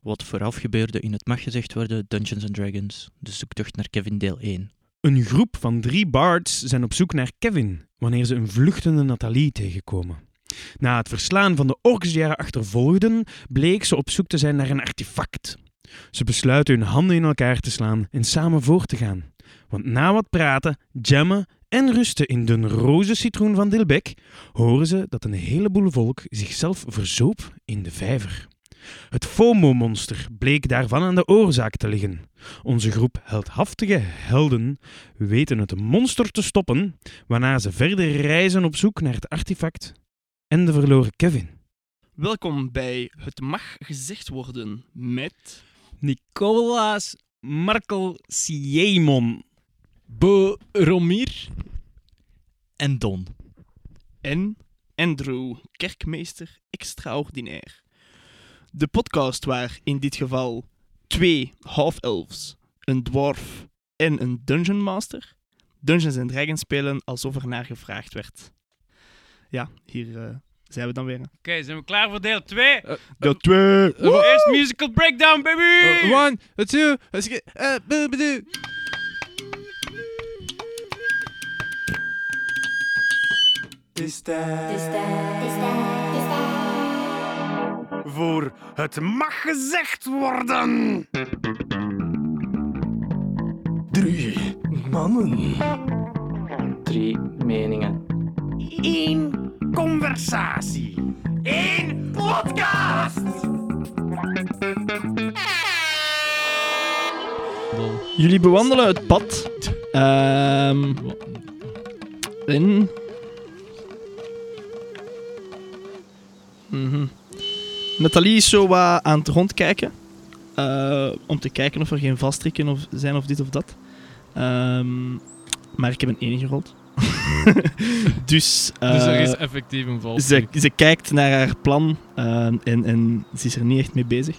wat vooraf gebeurde in het mag gezegd worden Dungeons and Dragons, de zoektocht naar Kevin deel 1. Een groep van drie bards zijn op zoek naar Kevin wanneer ze een vluchtende Nathalie tegenkomen. Na het verslaan van de orks die haar achtervolgden, bleek ze op zoek te zijn naar een artefact. Ze besluiten hun handen in elkaar te slaan en samen voort te gaan. Want na wat praten, jammen en rusten in de roze citroen van Dilbeck, horen ze dat een heleboel volk zichzelf verzoop in de vijver. Het FOMO-monster bleek daarvan aan de oorzaak te liggen. Onze groep heldhaftige helden weten het monster te stoppen, waarna ze verder reizen op zoek naar het artefact en de verloren Kevin. Welkom bij Het Mag Gezegd Worden met... Nicolaas Markel Siemon. Bo Romier. En Don. en Andrew, kerkmeester extraordinair. De podcast waar in dit geval twee half-elves, een dwarf en een dungeon master Dungeons and Dragons spelen alsof er naar gevraagd werd. Ja, hier eh, zijn we dan weer. Oké, zijn we klaar voor deel 2? Deel 2! Eerst musical breakdown, baby! One, two, let's get- eh, bu- bu- bu- voor Het mag gezegd worden. Drie mannen. drie meningen. Eén conversatie. Eén podcast. Jullie bewandelen het pad. Ehm en. Mhm. Nathalie is zo wat aan het rondkijken. Eh, om te kijken of er geen vastrikken of zijn of dit of dat. Ehm, maar ik heb een 1 gerold. dus. Dus er eh, is effectief een val. ze, ze kijkt naar haar plan ehm, en, en ze is er niet echt mee bezig.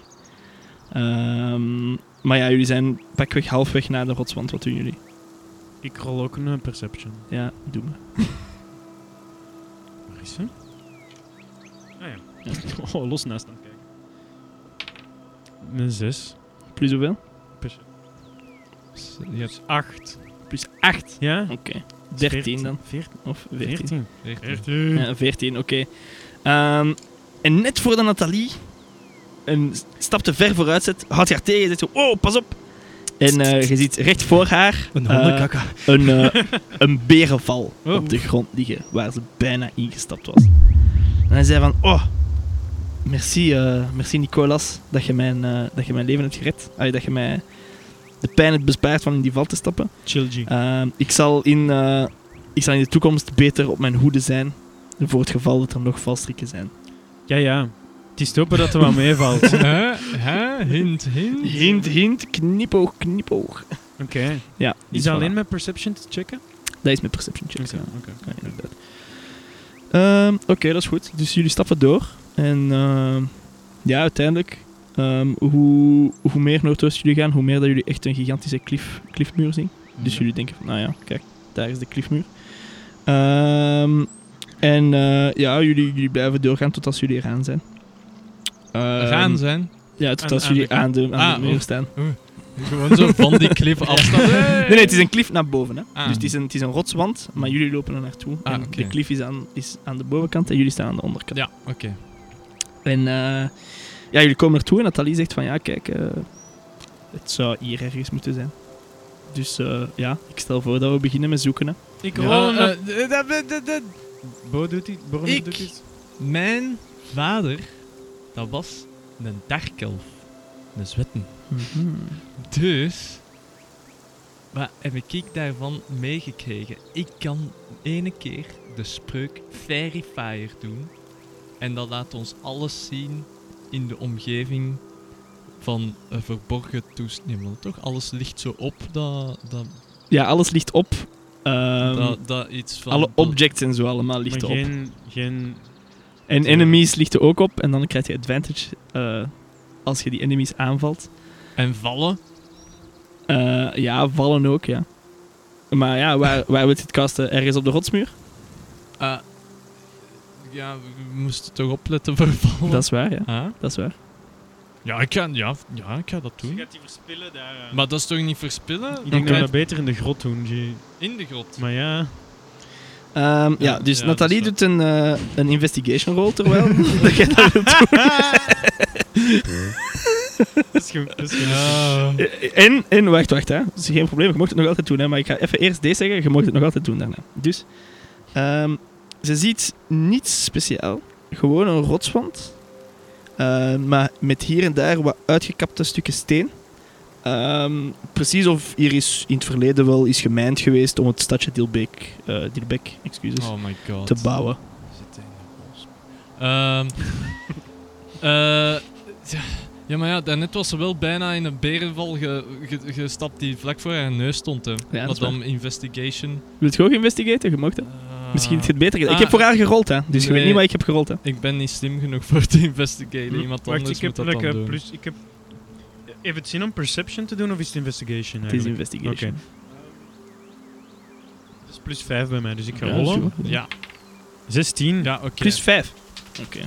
Ehm, maar ja, jullie zijn pakweg halfweg naar de rotswand. Wat doen jullie? Ik rol ook een perception. Ja, doe maar. Waar is ze? Ah ja. Oh, los naast hem kijken. Een zes. Plus hoeveel? Je hebt Acht. Plus 8. Ja? Oké. 13 dan. Veertien. Of 14. Veertien. echt Ja, 14, oké. Ehm, en net voordat Nathalie een stap te ver vooruit zet, houdt je haar tegen en zegt zo, wow, pas op. En eh, je ziet recht voor haar Een eh, hondenkakka. een, eh, een berenval Oh. op de grond liggen, waar ze bijna ingestapt was. En hij zei van, oh, merci, eh, merci Nicolas, dat je, mijn, eh, dat je mijn leven hebt gered. Allee, dat je mij de pijn hebt bespaard van in die val te stappen. Chill G. Ehm, ik, zal in, eh, ik zal in de toekomst beter op mijn hoede zijn, voor het geval dat er nog valstrikken zijn. Ja, ja. Het is te hopen dat er wel meevalt. Oké. Hè? Hè? Hint, hint. Hint, hint, knipoog, knipoog. Ja, Is dus dat alleen voilà. met perception te checken? Dat is mijn perception check. Oké, ja. oké. Ja, inderdaad. Ehm, Oké, dat is goed. Dus jullie stappen door. En ehm, ja, uiteindelijk, ehm, hoe, hoe meer noordoosten jullie gaan, hoe meer dat jullie echt een gigantische klif, klifmuur zien. Dus jullie denken van, nou ja, kijk, daar is de klifmuur. Ehm, en eh, ja, jullie, jullie blijven doorgaan tot als jullie eraan zijn. Ehm, Gaan zijn. Ja, tot Aan- als aan de jullie klif? aan de, aan Ah, de muur oh. staan. Gewoon zo van die klif afstappen. Nee, nee, het is een klif naar boven. Hè. Ah. Dus het is, een, het is een rotswand, maar jullie lopen er naartoe. Ah, en oké. De klif is aan, is aan de bovenkant en jullie staan aan de onderkant. Ja, oké. En eh, ja, jullie komen naartoe en Nathalie zegt van ja, kijk, eh, het zou hier ergens moeten zijn. Dus eh, ja, ik stel voor dat we beginnen met zoeken. Hè. Ik Eh, eh, eh, dat- dat- dat- dat- Bo doet iets. Bo Ik- doet iets. Mijn vader, dat was een darkelf. Een zwetten. Mhm. Dus, wat heb ik daarvan meegekregen? Ik kan ene keer de spreuk Fairy Fire doen. En dat laat ons alles zien in de omgeving van een verborgen toestemming. Toch? Alles ligt zo op dat, dat, Ja, alles ligt op. Ehm, dat, dat iets van... alle objects en zo allemaal ligt Maar erop. geen, geen... En enemies ligt er ook op en dan krijg je advantage eh, als je die enemies aanvalt. En vallen. Eh, ja, vallen ook, ja. Maar ja, waar, waar wil je het kasten? Ergens op de rotsmuur? Eh, ja, we moesten toch opletten voor vallen. Dat is waar, ja. Ah, Dat is waar. Ja, ik ga, ja, ja, ik ga dat Je doen. gaat die verspillen daar. eh. Maar dat is toch niet verspillen? Ik Dan denk dat we krijg dat beter in de grot doen, G. in de grot. Maar ja, Ehm, ja, Ja, dus ja, Nathalie dat doet een, eh, een investigation roll terwijl dat jij dat wilt doen. dat is, Dus ge- dat is ge- Ja. En, en wacht, wacht, hè. Dat is geen probleem, je mocht het nog altijd doen, hè. Maar ik ga even eerst deze zeggen, je mocht het nog altijd doen daarna. Dus, ehm, ze ziet niets speciaal. Gewoon een rotswand. Ehm, maar met hier en daar wat uitgekapte stukken steen. Ehm, precies of hier is in het verleden wel is gemijnd geweest om het stadje Dilbeek, eh Dilbeek excuses, Oh my god. Dus te bouwen. Zit in de bos. Ehm, eh, tja, ja, maar ja, daarnet was ze wel bijna in een berenval ge- ge- gestapt die vlak voor haar neus stond. Hè. dat is Wat dan investigation. Wil je het ook investigaten? Je mocht dat. Eh, Misschien is het beter gedaan. Ah. Ik heb voor haar gerold, hè. Dus je weet Nee. niet wat ik heb gerold, hè. Ik ben niet slim genoeg voor te investigaten. Iemand Hm, Wacht, anders ik heb, moet dat like, dan eh, doen. plus, ik heb... Heeft het zin om perception te doen of is het investigation Het is eigenlijk? investigation. Dat is plus 5 bij mij, dus ik ga Ja, rollen. dat is goed. Ja, 16. ja oké. Plus 5. Oké.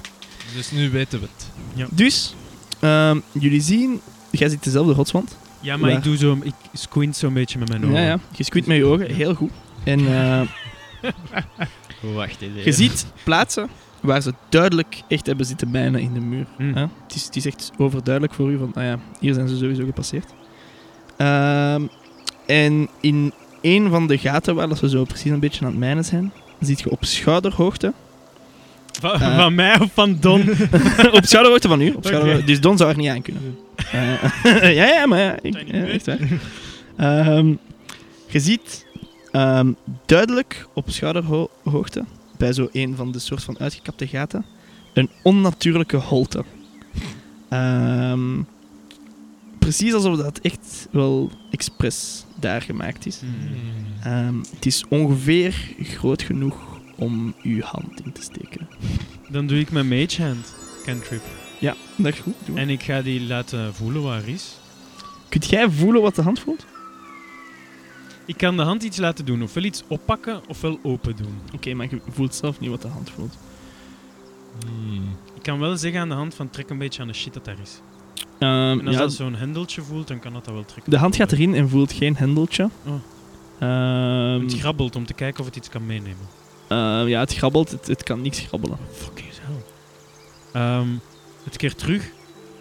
Dus nu weten we het. Dus, ehm, jullie zien... Jij ziet dezelfde rotswand. Ja, maar Waar? ik doe zo... Ik squint zo'n beetje met mijn ogen. Ja, ja. Je squint met je ogen. Heel goed. En eh, Wacht even. je ziet plaatsen waar ze duidelijk echt hebben zitten mijnen in de muur. Hm. hè. Het, is, het is echt overduidelijk voor u van... Ah ja, hier zijn ze sowieso gepasseerd. Ehm, en in een van de gaten waar dat ze zo precies een beetje aan het mijnen zijn... ziet je op schouderhoogte Van, Eh. van mij of van Don? op schouderhoogte van u. Op Oké. schouderhoogte. Dus Don zou er niet aan kunnen. Eh, ja, ja, maar ja, ik, Zijn niet ja, mee. echt waar. Ehm, je ziet ehm, duidelijk op schouderhoogte, bij zo een van de soort van uitgekapte gaten, een onnatuurlijke holte. Ehm, precies alsof dat echt wel expres daar gemaakt is. Hm. Ehm, het is ongeveer groot genoeg om uw hand in te steken. Dan doe ik mijn mage hand cantrip. Ja, dat is goed. Doe maar. En ik ga die laten voelen waar hij is. Kunt jij voelen wat de hand voelt? Ik kan de hand iets laten doen. Ofwel iets oppakken, ofwel open doen. Oké, maar je voelt zelf niet wat de hand voelt. Hmm. Ik kan wel zeggen aan de hand van trek een beetje aan de shit dat daar is. En als Ehm, ja, dus dat zo'n hendeltje voelt, dan kan dat dat wel trekken. de hand gaat erin en voelt geen hendeltje. Oh. Ehm, Het grabbelt om te kijken of het iets kan meenemen. eh, ja, het grabbelt. Het, het kan niks grabbelen. Fucking hell. Ehm, het keert terug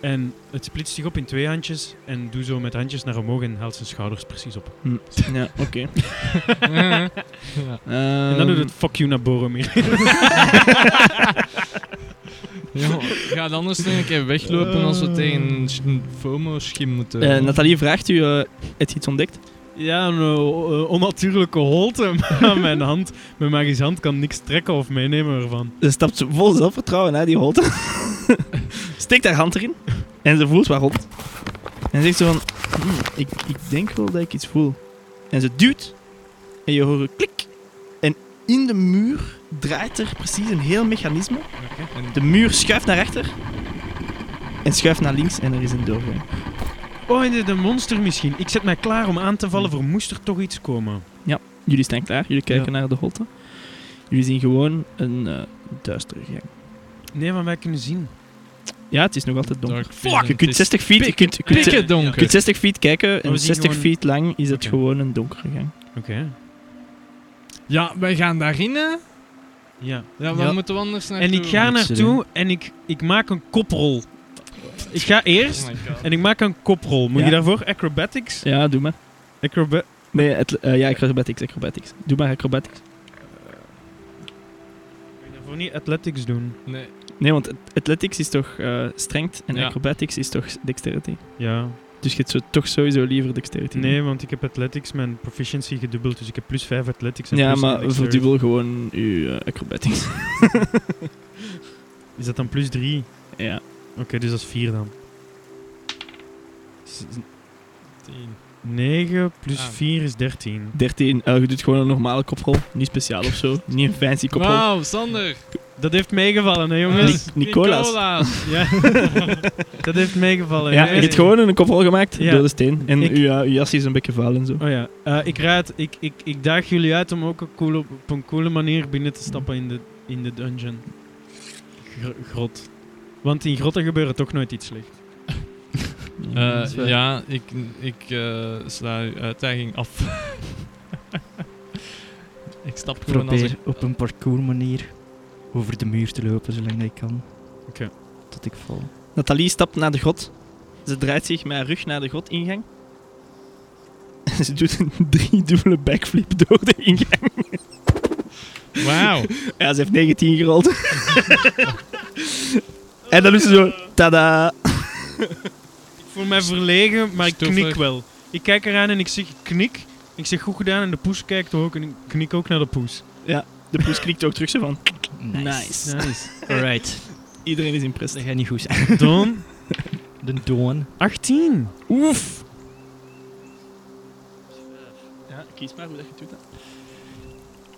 en het splitst zich op in twee handjes en doe zo met handjes naar omhoog en haalt zijn schouders precies op. Hm, Ja, oké. Hm. ja. en dan doet het fuck you naar Boromir. Ja, ga dan eens een keer weglopen als Eh. we tegen een sch- een FOMO-schim moeten. Eh, Nathalie vraagt u, eh, heb je iets ontdekt? ja, een eh, eh, onnatuurlijke holte, maar mijn hand, mijn magische hand kan niks trekken of meenemen ervan. Ze stapt zo vol zelfvertrouwen naar die holte. Steekt haar hand erin en ze voelt waarop. En zegt zo van, "Hmm, ik, ik denk wel dat ik iets voel. En ze duwt en je hoort een klik. En in de muur draait er precies een heel mechanisme. En- De muur schuift naar achter en schuift naar links en er is een doorgang. Oh, en de monster misschien. Ik zet mij klaar om aan te vallen, voor moest er toch iets komen. Jullie staan klaar, jullie kijken naar de holte. Jullie zien gewoon een eh duistere gang. Nee, maar wij kunnen zien. Ja, het is nog altijd donker. Dark vision. Je kunt Het is 60 feet, je kunt, je kunt, pikken donker. Je kunt 60 feet kijken Oh, we en zien 60 gewoon- feet lang is het Oké. gewoon een donkere gang. Oké. Ja, wij gaan daarin, hè? Ja. Ja, waar Ja. moeten we anders naartoe? En ik ga Niks naartoe en ik, ik maak een koprol. Ik ga eerst Oh my god. En ik maak een koprol. Moet Ja. je daarvoor acrobatics? Ja, doe maar. Acroba Nee, het, eh, ja, acrobatics, acrobatics. Doe maar acrobatics. Moet je daarvoor niet athletics doen? Nee. Nee, want at- athletics is toch eh strength en Ja. acrobatics is toch dexterity. Ja. Dus je hebt zo, toch sowieso liever dexterity. Nee, want ik heb athletics mijn proficiency gedubbeld, dus ik heb plus 5 athletics en Ja, plus maar dexterity. verdubbel gewoon je eh, acrobatics. Is dat dan plus 3? ja. Oké, dus dat is 4 dan. Tien. 9 plus Ah. 4 is 13. 13, eh, je doet gewoon een normale koprol. Niet speciaal of zo. Niet een fancy koprol. Ah, Wauw, Sander. Dat heeft meegevallen, hè jongens? Ni- Nicolaas. Nicolaas. ja. dat heeft meegevallen. Ja, hè. je hebt gewoon een koprol gemaakt Ja. door de steen. En Ik- uw, eh, uw jas is een beetje vuil en zo. Oh ja, Eh, ik raad, ik, ik, ik daag jullie uit om ook een coole, op een coole manier binnen te stappen in de, in de dungeon. Gr- grot. Want in grotten gebeuren toch nooit iets slecht. Eh, zwaar. ja, ik, ik eh, sla uw uitdaging af. ik stap gewoon als Probeer ik... op een parcoursmanier over de muur te lopen zolang dat ik kan. Oké. Tot ik val. Nathalie stapt naar de grot. Ze draait zich met haar rug naar de grotingang. En ze doet een driedubbele backflip door de ingang. Wauw. Ja, ze heeft 19 gerold. en dan doet ze zo... Tada! Ik voel mij verlegen, maar ik Stoffig. knik wel. Ik kijk eraan en ik zeg knik. Ik zeg goed gedaan en de poes kijkt ook en ik knik ook naar de poes. De poes knikt ook terug zo van... Nice. Nice. Alright. Iedereen is impressed. Dat gaat niet goed zijn. Dan De doorn. 18. Oef. Ja, kies maar hoe dat je het doet. hè.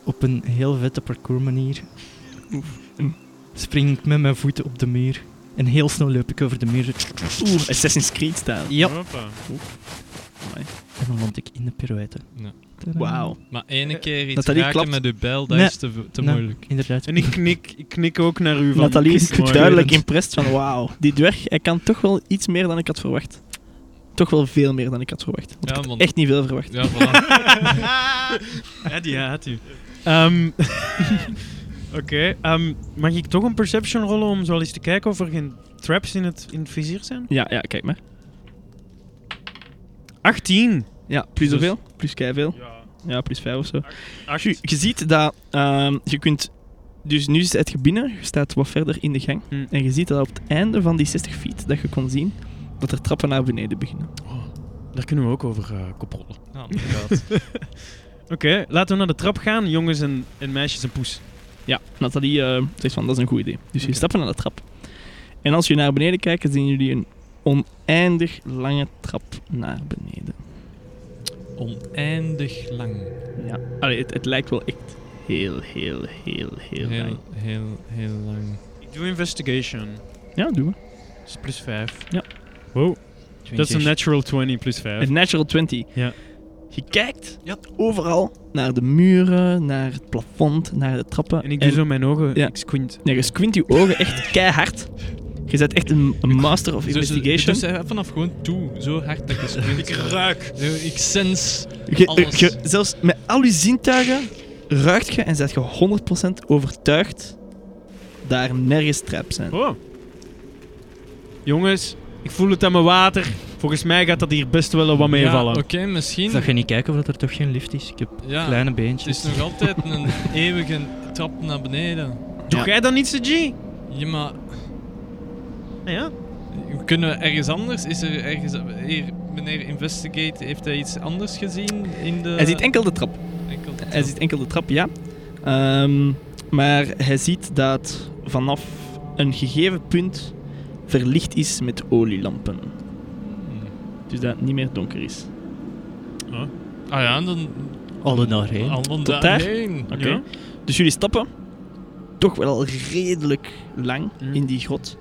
Op een heel vette parcoursmanier spring ik met mijn voeten op de muur. En heel snel loop ik over de muur. Oeh, Assassin's Creed-stijl. Ja. Hoppa. En dan land ik in de pirouette. Ja. Tadaa. Wauw. Maar ene keer iets Nathalie raken klapt. met uw bijl, dat Nee. is te, te Nee. moeilijk. Inderdaad. En ik knik, ik knik ook naar u. Van, Nathalie is knik maar. duidelijk impressed van wauw, die dwerg, hij kan toch wel iets meer dan ik had verwacht. Toch wel veel meer dan ik had verwacht. Want Ja, ik had man. echt niet veel verwacht. Ja, voilà. Ja, die had u. Ehm, Oké, ehm, mag ik toch een perception rollen om zo al eens te kijken of er geen traps in het, in het vizier zijn? Ja, ja, kijk maar. 18. Ja, plus Dus- zoveel? Plus keiveel. Ja, plus vijf of zo. Acht. Je, je ziet dat ehm, je kunt... Dus nu zit je binnen, je staat wat verder in de gang. Hmm. En je ziet dat op het einde van die 60 feet dat je kon zien, dat er trappen naar beneden beginnen. oh, Daar kunnen we ook over eh, koprollen. Ja, inderdaad. Oké, laten we naar de trap gaan, jongens en, en meisjes en poes. Ja, Nathalie eh, zegt van dat is een goed idee. Dus jullie Oké. stappen naar de trap. En als je naar beneden kijkt, zien jullie een oneindig lange trap naar beneden. Oneindig lang. Ja. Allee, het, het lijkt wel echt heel, heel, heel, heel, lang. Heel, heel, heel lang. Ik doe investigation. Ja, doe maar. Dat is plus 5. Ja. Wow, dat is een 20. natural 20 plus 5. Een natural 20. Ja. Je kijkt overal naar de muren, naar het plafond, naar de trappen. En ik doe zo mijn ogen, Ja. ik squint. Nee, je squint je ogen echt keihard. Je bent echt een, een master of investigation. Dus, dus vanaf gewoon toe, zo hard dat je springt. ik ruik. Ik sens. Je- Alles. je- zelfs met al je zintuigen ruikt je en zet je 100% overtuigd daar nergens traps zijn. Oh. Jongens, ik voel het aan mijn water. Volgens mij gaat dat hier best wel wat meevallen. Ja, Oké, misschien. Zag je niet kijken of dat er toch geen lift is? Ik heb Ja, kleine het beentjes. is nog altijd een eeuwige trap naar beneden. Doe Ja. jij dan iets, G? Ja, maar Ja. kunnen we ergens anders? Is er ergens. Hier, meneer Investigate, heeft hij iets anders gezien in de. Hij ziet enkel de trap. enkel de Hij trap? ziet enkel de trap, ja. Ehm, maar hij ziet dat vanaf een gegeven punt verlicht is met olielampen. Hmm. Dus dat het niet meer donker is. Ah ja, dan. Alle daarheen. Allemaal Tot daarheen. Oké. Dus jullie stappen toch wel al redelijk lang Mm. in die grot.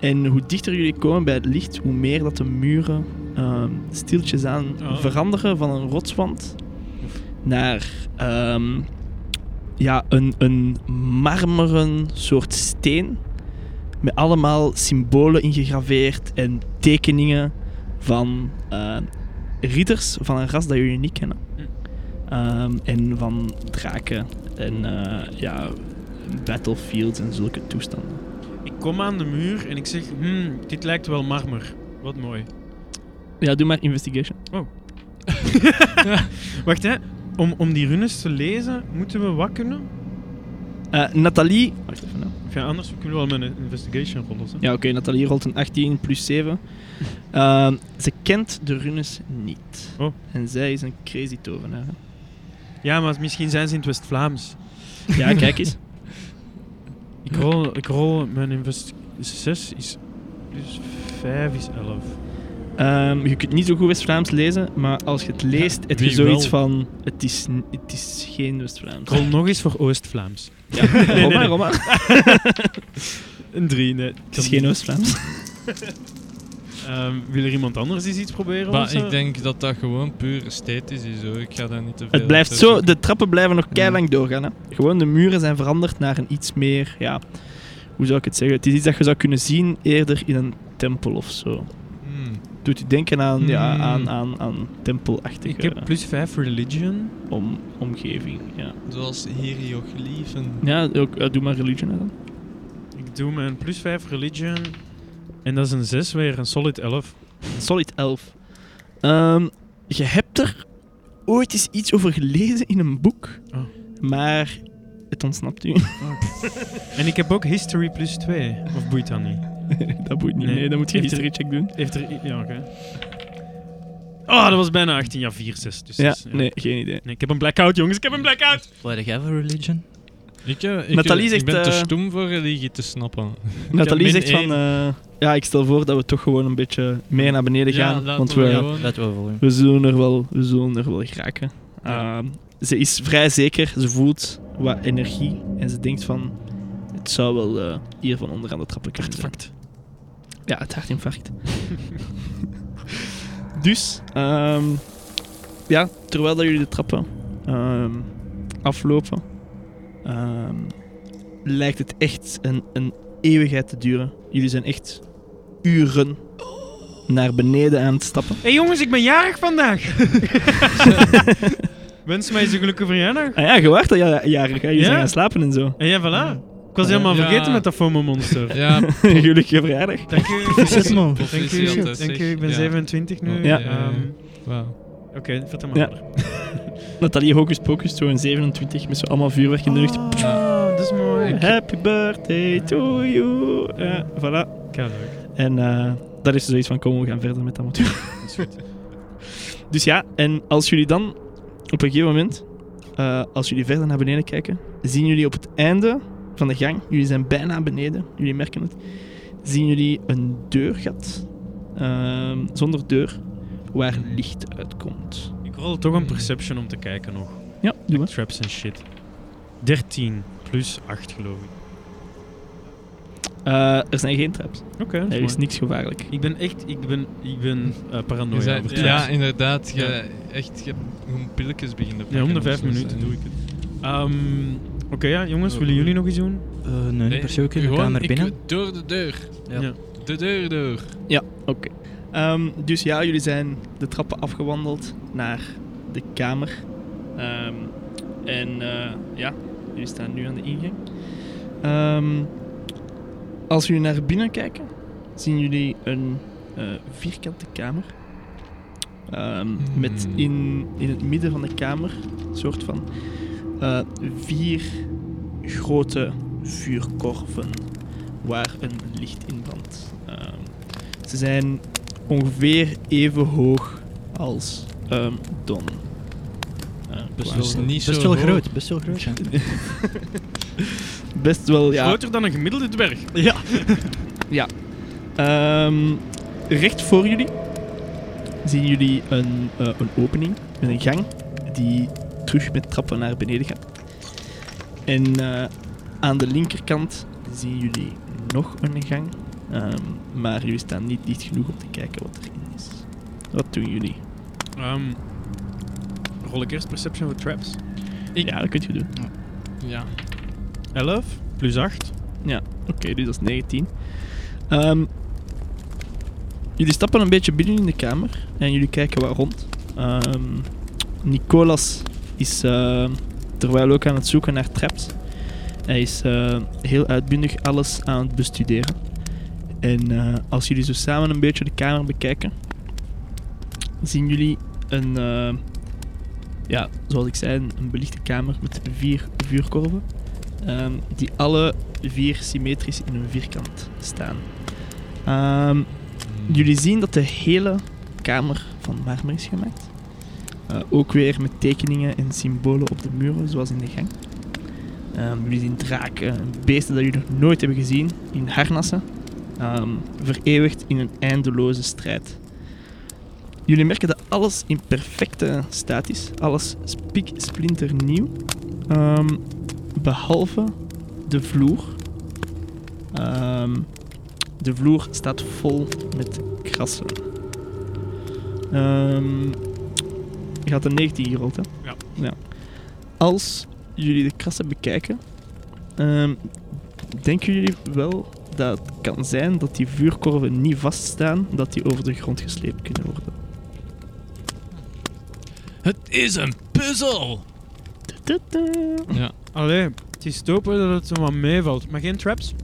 En hoe dichter jullie komen bij het licht, hoe meer dat de muren ehm, stiltjes aan Oh. veranderen van een rotswand naar ehm, ja, een, een marmeren soort steen met allemaal symbolen ingegraveerd en tekeningen van eh, ridders van een ras dat jullie niet kennen. Hm. Ehm, en van draken en eh, ja, battlefields en zulke toestanden. Ik kom aan de muur en ik zeg, hmm, dit lijkt wel marmer. Wat mooi. Ja, doe maar investigation. Wacht, hè. Om, om die runes te lezen, moeten we wat kunnen? Eh, Nathalie. Wacht even. nou. Of ja, anders kunnen we wel met een investigation rollen. hè. Ja, oké, Nathalie rolt een 18 plus 7. Ehm, ze kent de runes niet. Oh. En zij is een crazy tovenaar. hè. Ja, maar misschien zijn ze in het West-Vlaams. Ja, kijk eens. Ik rol, ik rol mijn invest... 6 is... Plus 5 is 11. Ehm, je kunt niet zo goed West-Vlaams lezen, maar als je het leest, heb je wie zoiets wel? van: het is, n- het is geen West-Vlaams. Ik rol nog eens voor Oost-Vlaams. Ja, nee, nee, nee. Een 3, nee. Het is geen Oost-Vlaams. Ehm, wil er iemand anders eens iets proberen? of Maar zo? ik denk dat dat gewoon puur esthetisch is hoor. Ik ga daar niet te veel Het blijft uit zo, zoeken. de trappen blijven nog keilang doorgaan. Hè. Gewoon de muren zijn veranderd naar een iets meer, ja, hoe zou ik het zeggen? Het is iets dat je zou kunnen zien eerder in een tempel of zo. Hmm. doet u denken aan, ja, Mm. aan, aan, aan tempelachtige Ik eh, heb plus 5 religion. om, omgeving. Ja, Zoals hieriogliefen. ja ook, eh, doe maar religion hè, dan. Ik doe mijn plus 5 religion. En dat is een 6 weer, een solid 11. Solid 11. Ehm, je hebt er ooit eens iets over gelezen in een boek, Oh. maar het ontsnapt u. En ik heb ook history plus 2. Of boeit dat niet? dat moet niet. Nee, Nee. dan moet je een Heeft er- history check doen. Heeft er... i- Ja, oké. Oh, dat was bijna 18. Ja, 4, 6. Dus Ja, zes, nee, geen idee. Nee, ik heb een blackout, jongens. Ik heb een blackout. Wat heb jij voor religion? Ik, eh, ik, Nathalie eh, zegt, ik ben te eh, stom voor religie te snappen. Nathalie min zegt van, eh, ja, ik stel voor dat we toch gewoon een beetje meer naar beneden Ja, gaan, laten want we we, gewoon- Laten we volgen. we, zullen er wel, we zullen er wel geraken. Ehm, ze is vrij zeker, ze voelt wat energie en ze denkt van, het zou wel eh, hier van onder aan de trappen kunnen zijn. Ja, het hartinfarct. dus, ehm, ja, terwijl dat jullie de trappen ehm, aflopen, ehm, lijkt het echt een, een eeuwigheid te duren. Jullie zijn echt uren naar beneden aan het stappen. Hé hey, jongens, ik ben jarig vandaag. Wens mij eens een gelukkige verjaardag. Ah ja, je wacht al ja- jaren. Jullie Ja. zijn gaan slapen en zo. En ja, voilà. Ik was helemaal Ja. vergeten met dat FOMO-monster. Ja, Gelukkige verjaardag. Dank u. Proficiat, man. Dank Proficiat, u. hè, Dank zeg. u. Ik ben Ja. 27 nu. Ja. Ehm, wauw. Oké, vertel maar. Ja. verder. Nathalie Hocus Pocus, zo'n 27, met zo allemaal vuurwerk in de lucht. Ah, dat is mooi. Happy birthday to you. Ja, voilà. Kijk, leuk. En eh, daar is ze zoiets van, kom, we gaan verder met dat motor. dus ja, en als jullie dan op een gegeven moment, eh, als jullie verder naar beneden kijken, zien jullie op het einde van de gang, jullie zijn bijna beneden, jullie merken het, zien jullie een deurgat, ehm, zonder deur, waar licht uitkomt. Ik rol toch een perception om te kijken nog. Ja, doe maar. Traps en shit. 13 plus 8 geloof ik. Eh, er zijn geen traps. Oké, Er is niks gevaarlijk. Ik ben echt, ik ben, ik ben eh Je paranoia zei- over ja, traps. inderdaad. Je, Ja. Echt, je hebt gewoon pilletjes beginnen Ja, om de vijf minuten doe ik het. Ehm, Oké, ja, jongens, willen jullie nog iets doen? Eh, nee, niet per se. We kunnen de gewoon, kamer ik- binnen. Door de deur. Ja. Ja. De deur door. Oké. Ehm, dus ja, jullie zijn de trappen afgewandeld naar de kamer. Ehm, en eh, ja, jullie staan nu aan de ingang. Ehm, als jullie naar binnen kijken, zien jullie een eh, vierkante kamer. Ehm, Met Hmm. in, in het midden van de kamer een soort van eh, vier grote vuurkorven waar een licht in brandt. Ehm, ze zijn ongeveer even hoog als ehm, Don. Eh, Best qua- wel niet Best zo wel hoog. groot. Best wel groot. ja. Best wel, ja. Groter dan een gemiddelde dwerg. Ja. ja. Ehm, recht voor jullie zien jullie een, eh, een opening, met een gang die terug met trappen naar beneden gaat. En eh, aan de linkerkant zien jullie nog een gang, ehm, maar jullie staan niet dicht genoeg om te kijken wat erin is. Wat doen jullie? Ehm rol ik eerst perception voor traps. Ik- Ja, dat kunt je doen. Ja. 11 plus 8. Oké, dus dat is 19. Ehm, jullie stappen een beetje binnen in de kamer en jullie kijken wat rond. Ehm, Nicolas is ehm, terwijl ook aan het zoeken naar traps. Hij is eh, heel uitbundig alles aan het bestuderen. En eh, als jullie zo samen een beetje de kamer bekijken, zien jullie een, eh, ja, zoals ik zei, een een belichte kamer met vier vuurkorven. ehm, die alle vier symmetrisch in een vierkant staan. Ehm, jullie zien dat de hele kamer van marmer is gemaakt. Eh, ook weer met tekeningen en symbolen op de muren, zoals in de gang. Ehm, jullie zien draken, en beesten dat jullie nog nooit hebben gezien, in harnassen. Ehm, vereeuwigd in een eindeloze strijd. Jullie merken dat alles in perfecte staat is. Alles spik, splinternieuw. Ehm, behalve de vloer. Ehm, de vloer staat vol met krassen. Ehm, je had een 19 gerold, hè? Ja. ja. Als jullie de krassen bekijken, ehm, denken jullie wel dat het kan zijn dat die vuurkorven niet vaststaan, dat die over de grond gesleept kunnen worden. Het is een puzzel! Tudu. Allee, het is te hopen dat het zo wat meevalt. Maar geen traps?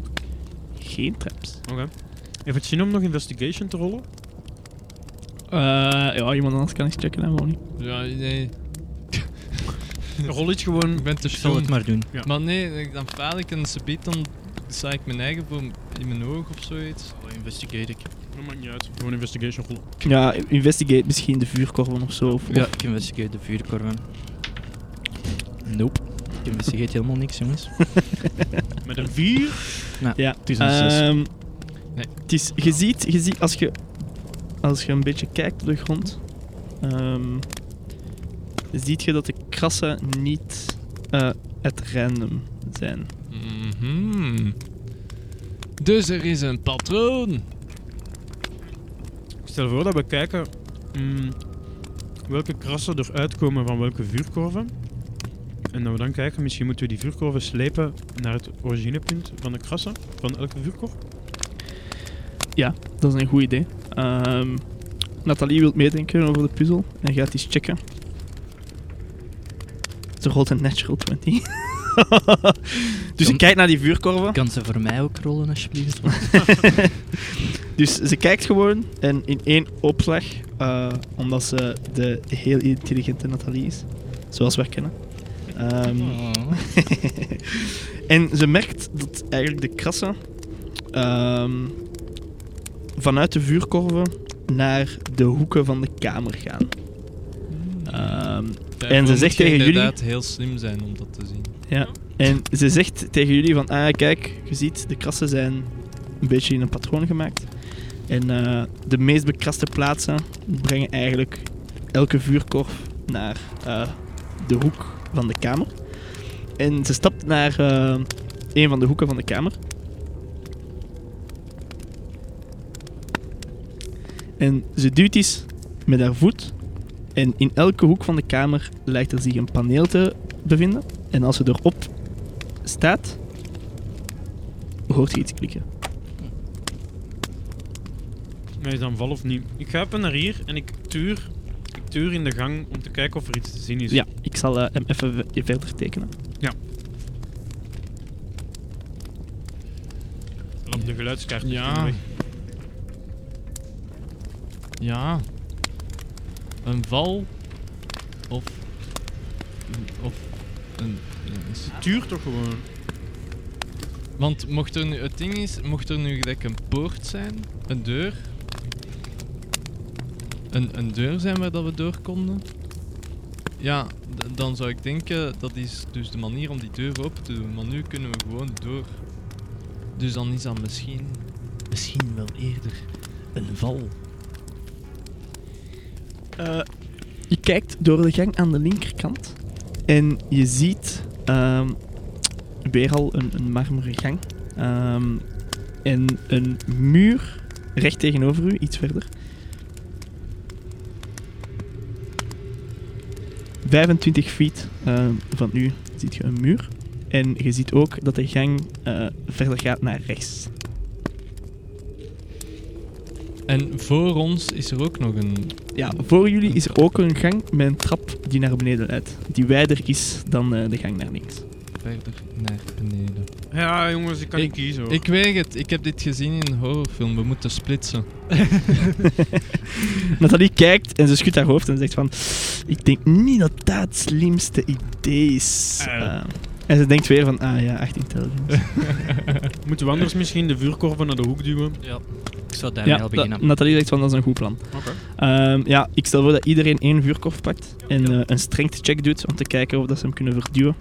Geen traps. Heeft het zin om nog investigation te rollen? Eh, ja, iemand anders kan eens checken, hè, gewoon niet. Ja, nee. Rol iets gewoon... Ik ben te Ik zal het stom. maar doen. maar- Maar nee, dan faal ik en ze biedt dan... Sta ik mijn eigen voor in mijn oog of zoiets. Oh, investigeer ik. Dat maakt niet uit. Gewoon investigation rollen. Ja, investigate misschien de vuurkorven of zo. Of, Ja, ik investigeer de vuurkorven. Nope. Ik investigeer helemaal niks, jongens. Met een 4? Ja, is een zes. Ehm, Nee. Het is, je ziet, je ziet als, je, als je een beetje kijkt op de grond, ehm, ziet je dat de krassen niet eh at random zijn. Mhm. Dus er is een patroon. Ik stel voor dat we kijken mm, welke krassen er uitkomen van welke vuurkorven. En dat we dan kijken, misschien moeten we die vuurkorven slepen naar het originepunt van de krassen van elke vuurkorf. Dat is een goed idee. Ehm, Nathalie wilt meedenken over de puzzel en gaat iets checken. Ze rolt een natural 20. dus ze Dan- kijkt naar die vuurkorven. Kan ze voor mij ook rollen, alsjeblieft? Dus ze kijkt gewoon en in één opslag, eh, omdat ze de heel intelligente Nathalie is, zoals wij kennen. Ehm, Oh. Eh, en ze merkt dat eigenlijk de krassen ehm, vanuit de vuurkorven naar de hoeken van de kamer gaan. Ehm, Daarvoor en ze moet zegt je tegen jullie- inderdaad heel slim zijn om dat te zien. ja. En ze zegt tegen jullie van, ah kijk, je ziet, de krassen zijn een beetje in een patroon gemaakt. En eh, de meest bekraste plaatsen brengen eigenlijk elke vuurkorf naar eh, de hoek van de kamer. En ze stapt naar eh, een van de hoeken van de kamer. En ze duwt iets met haar voet. En in elke hoek van de kamer lijkt er zich een paneel te bevinden. En als ze erop staat, hoort je iets klikken. Nee, is dan val of niet. Ik ga even naar hier en ik tuur, ik tuur in de gang om te kijken of er iets te zien is. Ja, ik zal eh, hem even ve- verder tekenen. Op de Dus geluidskaart. Ja. misschien Ja. Een val. Of. Of. Een, een s- weg. Tuur toch gewoon. Want mocht er nu. Het ding is, mocht er nu gelijk een poort zijn, een deur. Een, een deur zijn waar dat we door konden. Ja, d- dan zou ik denken dat is dus de manier om die deur open te doen. Maar nu kunnen we gewoon door. Dus dan is dat misschien. Misschien wel eerder een val. Eh, je kijkt door de gang aan de linkerkant en je ziet ehm, weer al een, een marmeren gang. Ehm, en een muur recht tegenover u, iets verder. 25 feet ehm, van u ziet je een muur. En je ziet ook dat de gang eh, verder gaat naar rechts. En voor ons is er ook nog een. Ja, voor jullie is er ook een gang met een trap die naar beneden leidt. Die wijder is dan eh, de gang naar links. verder naar beneden. Ja, jongens, ik kan Ik- niet kiezen hoor. Ik weet het, ik heb dit gezien in een horrorfilm. We moeten splitsen. Nathalie kijkt en ze schudt haar hoofd en zegt van... Ik denk niet dat dat het slimste idee is. Eh. Eh, en ze denkt weer van... Ah ja, echt intelligent. Moeten we anders misschien de vuurkorven naar de hoek duwen? Ik zou daarmee Ja, al dat- beginnen. Nathalie zegt van dat is een goed plan. Oké. Ehm, ja, ik stel voor dat iedereen één vuurkorf pakt en eh, een strength check doet om te kijken of dat ze hem kunnen verduwen.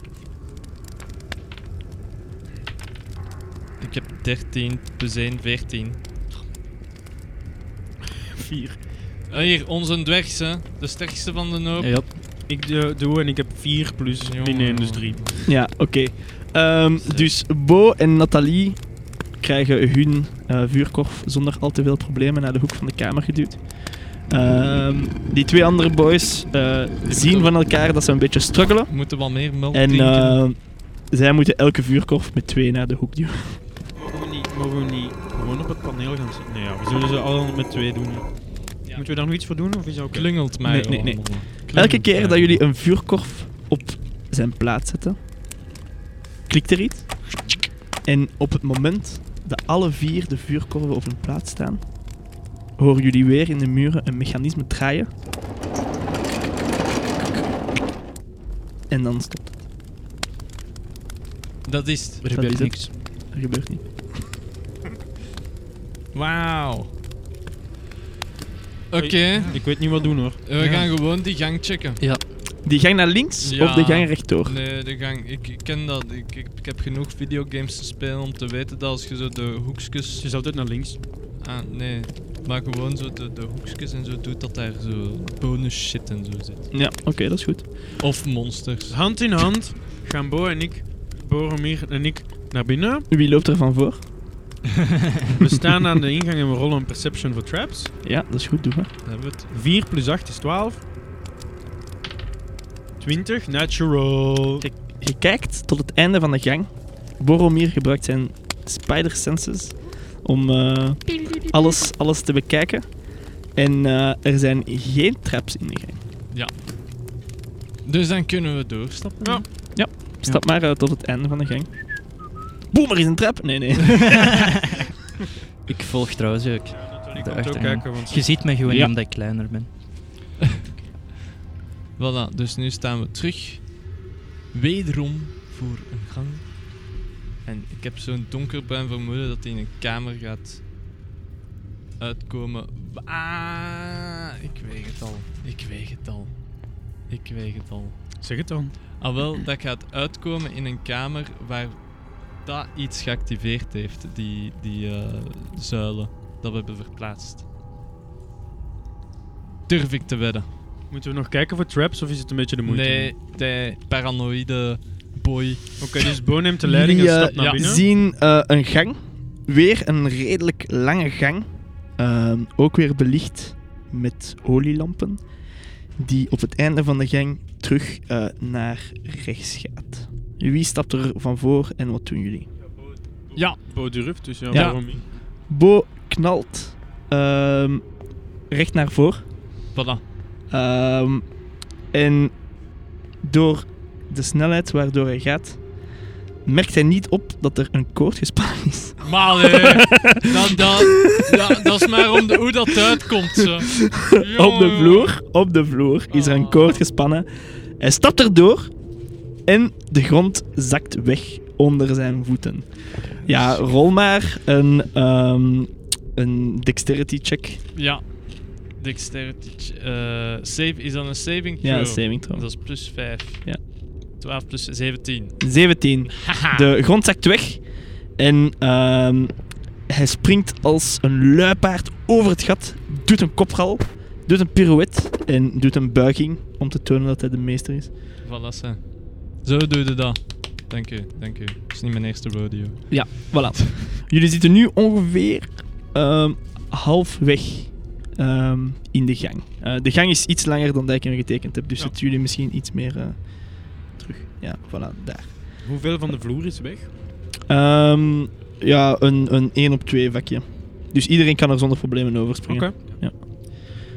Ik heb 13, plus 1, 14. Vier. Hier, onze dwergs, hè. De sterkste van de hoop. Ja, Ik eh, doe en ik heb vier plus Jongen. min één, dus drie. Ja, oké. Ehm, Zes. dus Bo en Nathalie krijgen hun eh, vuurkorf zonder al te veel problemen naar de hoek van de kamer geduwd. Ehm, die twee andere boys eh, zien van elkaar dat ze een beetje struggelen. We moeten wel meer melk En eh, drinken. ehm, zij moeten elke vuurkorf met twee naar de hoek duwen. Mogen we niet, mogen we niet dat paneel gaan zitten. Nee, ja, we zullen ze allemaal met twee doen. Moeten we daar nog iets voor doen? Of is dat oké? Klungelt mij Nee, nee, nee. wel. Elke Klungelt keer mij. dat jullie een vuurkorf op zijn plaats zetten, klikt er iets. En op het moment dat alle vier de vuurkorven op hun plaats staan, horen jullie weer in de muren een mechanisme draaien. En dan stopt het. Dat is het. Er Dat is gebeurt het. niks. Er gebeurt niet. Wauw. Oké, Ik weet niet wat doen hoor. we gaan gewoon die gang checken. Die gang naar links Ja. of de gang rechtdoor? Nee, de gang. Ik, ik ken dat. Ik, ik, ik heb genoeg videogames te spelen om te weten dat als je zo de hoekjes. Ze is altijd naar links. Ah, nee. Maar gewoon zo de, de hoekjes en zo doet dat daar zo bonus shit en zo zit. Ja, oké, dat is goed. Of monsters. Dus Hand in hand gaan Bo en ik, Boromir en ik, naar binnen. Wie loopt er van voor? We staan aan de ingang en we rollen een perception voor traps. Ja, dat is goed, doe maar. Dan hebben we het. 4 plus 8 is 12. 20, natural. Je kijkt tot het einde van de gang. Boromir gebruikt zijn spider senses om eh, alles, alles te bekijken. En eh, er zijn geen traps in de gang. Dus dan kunnen we doorstappen. Ja. Stap maar eh, tot het einde van de gang. Boem, er is een trap! Nee, nee. Ik volg trouwens ook. Natuurlijk De komt ook achtergang. kijken, want Je ziet mij gewoon Ja. niet omdat ik kleiner ben. Voilà, dus nu staan we terug. Wederom voor een gang. En ik heb zo'n donkerbruin vermoeden dat hij in een kamer gaat uitkomen. Ah, ik weeg het al. Ik weeg het al. Ik weeg het al. zeg het dan. Al wel, dat gaat uitkomen in een kamer waar dat iets geactiveerd heeft, die, die eh, zuilen dat we hebben verplaatst. Durf ik te wedden. Moeten we nog kijken voor traps of is het een beetje de moeite? Nee, de paranoïde boy. Oké, dus Bo neemt de leiding en Jullie, stapt naar eh, ja, binnen. zien eh, een gang. Weer een redelijk lange gang. Ehm, ook weer belicht met olielampen. Die op het einde van de gang terug eh, naar rechts gaat. Wie stapt er van voor en wat doen jullie? Bo durft, dus ja, Ja. waarom niet? Bo knalt ehm, recht naar voren. Voilà. Ehm, en door de snelheid waardoor hij gaat, merkt hij niet op dat er een koord gespannen is. Maar nee, dat, dat, dat, dat is maar om de, hoe dat uitkomt. Zo. Op de Jongen. vloer, op de vloer is er een Oh. koord gespannen. Hij stapt erdoor en de grond zakt weg onder zijn voeten. Ja, rol maar een, ehm, een dexterity check. Ja. Dexterity. eh save, is dat een saving throw? Ja, een saving throw. Dat is plus 5. Ja. 12 plus 17. 17. Haha. De grond zakt weg en ehm, hij springt als een luipaard over het gat, doet een kopral, doet een pirouette en doet een buiging om te tonen dat hij de meester is. Voilà, ze. Zo doe je dat. Dank u, dank u. Het is niet mijn eerste rodeo. Voilà. Jullie zitten nu ongeveer ehm, halfweg ehm, in de gang. Eh, de gang is iets langer dan dat ik hem getekend heb, dus Ja. zitten jullie misschien iets meer eh, terug. Ja, voilà, daar. Hoeveel van de vloer is weg? Ehm, ja, een, een 1 op 2 vakje. Dus iedereen kan er zonder problemen over springen. Oké.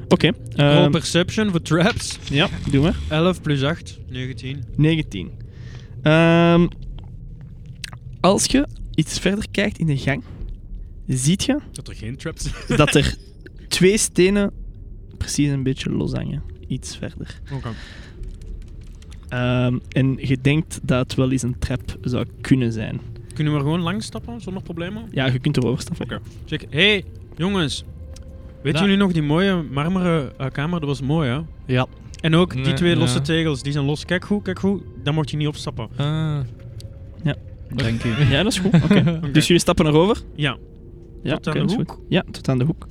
Oké. ehm, Roll perception voor traps. ja, doe maar. 11 plus 8, 19. 19. Ehm, als je iets verder kijkt in de gang, ziet je Dat er geen traps zijn. dat er twee stenen precies een beetje los hangen. Iets verder. Oké. Ehm, en je denkt dat het wel eens een trap zou kunnen zijn. Kunnen we er gewoon langs stappen zonder problemen? Ja, je kunt erover stappen. Oké. Zeg, hey, jongens. Weet Nou. Ja. jullie nog die mooie marmeren eh, kamer? Dat was mooi, hè? Ja. En ook die Nee, twee ja. losse tegels, die zijn los. Kijk goed, kijk goed. Daar mocht je niet op stappen. Ah. Dank u. Ja, dat is goed. Oké. Dus jullie stappen erover? Ja. Ja, Tot aan oké, de dat is hoek? goed. Ja, tot aan de hoek.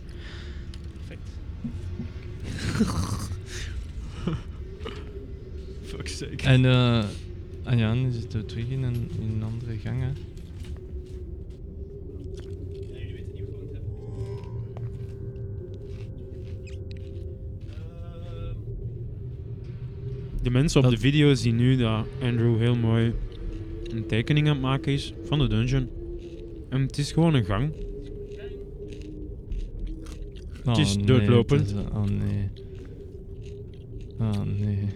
Fuck En eh. ah ja, nu zitten we terug in een, in een andere gang. Hè. De mensen op Dat- de video zien nu dat Andrew heel mooi een tekening aan het maken is van de dungeon. En het is gewoon een gang. Oh, is nee, doodlopend. het is- oh nee. Oh nee.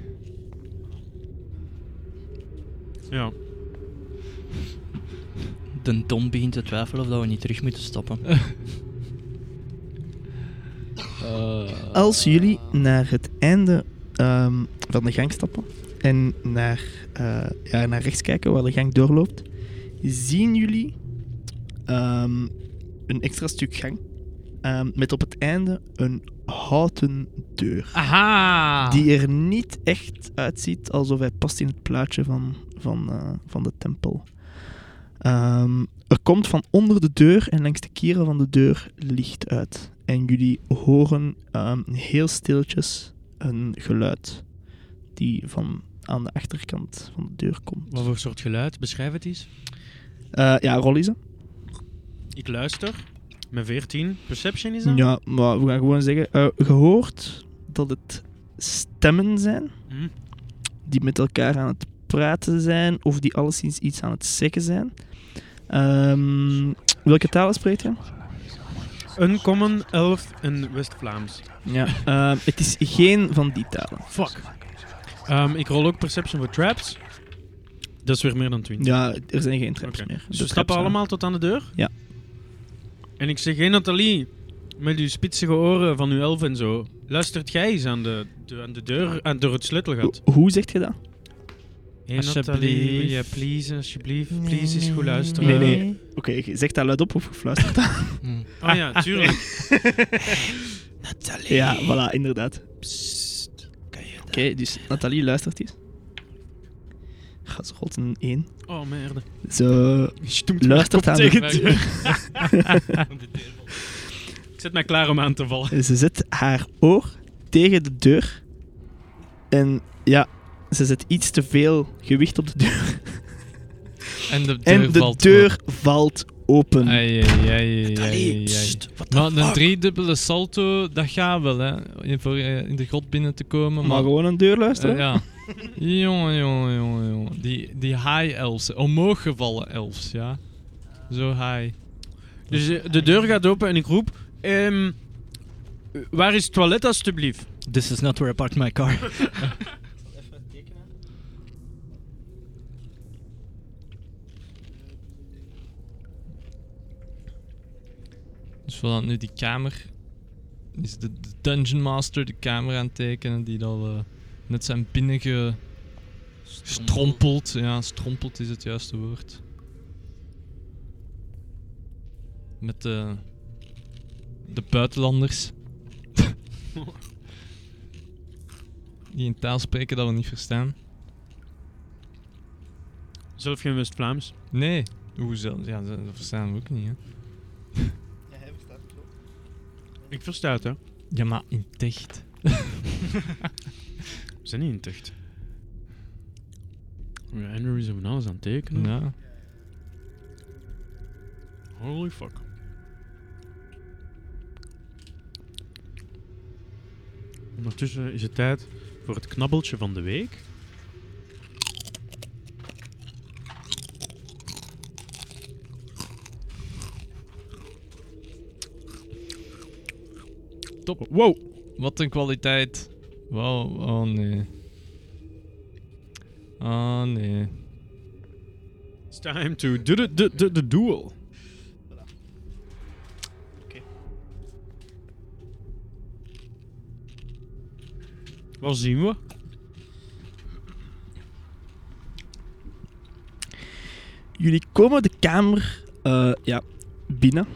Ja. De Don begint te twijfelen of dat we niet terug moeten stappen. Als jullie naar het einde ehm, van de gang stappen en naar, eh, ja, naar rechts kijken waar de gang doorloopt, zien jullie ehm, een extra stuk gang ehm, met op het einde een houten deur. Aha! Die er niet echt uitziet alsof hij past in het plaatje van, van, eh, van de tempel. Ehm, er komt van onder de deur en langs de kieren van de deur licht uit. En jullie horen ehm, heel stiltjes een geluid die van aan de achterkant van de deur komt. Wat voor soort geluid? Beschrijf het eens. Eh, ja, rol is dat? Ik luister. Met 14. Perception is dat? Ja, maar we gaan gewoon zeggen, eh gehoord dat het stemmen zijn. Hm. die met elkaar aan het praten zijn of die alleszins iets aan het zeggen zijn. Ehm, welke talen spreekt je? Uncommon, Elf en West-Vlaams. Ja. Ehm, het is geen van die talen. Fuck. Ehm, ik rol ook Perception voor Traps. Dat is weer meer dan 20. Ja, er zijn geen traps Oké. meer. Dus De we stappen traps allemaal tot aan de deur? Ja. En ik zeg, hé Nathalie, met uw spitsige oren van uw elf en zo, luistert jij eens aan de, de- aan de deur, aan, door het zijn- sleutelgat. Ho- hoe zegt je dat? Hé Alsjeblieft. Nathalie, ja, please, alsjeblieft, please is goed luisteren. Nee, nee. Oké, je zegt dat luid op of gefluisterd? Hmm. Oh ja, tuurlijk. ja, voilà, inderdaad. Oké, dus Nathalie luistert eens. Gaat ze rolt een 1. Oh merde. Ze luistert aan tegen de de deur. ik zet mij klaar om aan te vallen. Ze zet haar oor tegen de deur. En ja, ze zet iets te veel gewicht op de deur. En de deur En de valt deur valt open. Ai, ai, ai, ai, Allee, ai, ai. pst, wat Maar fuck? een driedubbele salto, dat gaat wel, hè. In, voor, eh, in de grot binnen te komen. maar Maar, gewoon een deur Eh, luisteren. ja. jongen, jongen, jongen, jongen. Die, die high elves, omhoog gevallen elves, ja. Zo high. Dus eh, de deur gaat open en ik roep, ehm, waar is het toilet alstublieft? This is not where I parked my car. Dus voilà, nu die kamer. Is de, de Dungeon Master de kamer aan het tekenen die al eh, net zijn binnengestrompeld. Ja, strompeld is het juiste woord. Met de, de buitenlanders. die een taal spreken dat we niet verstaan. Zelf geen West-Vlaams. Nee, hoe zelfs? Ja, dat dat verstaan we ook niet, hè. Ik versta het, hè. Ja, maar in dicht. We zijn niet in tucht. Ja, Andrew is hem van alles aan het tekenen. Ja. Holy fuck. Ondertussen is het tijd voor het knabbeltje van de week. Top. Wow. Wat een kwaliteit. Wow, oh nee. Oh nee. It's time to do the, the, the, the duel. Wat zien we? Jullie komen de kamer eh, ja, binnen.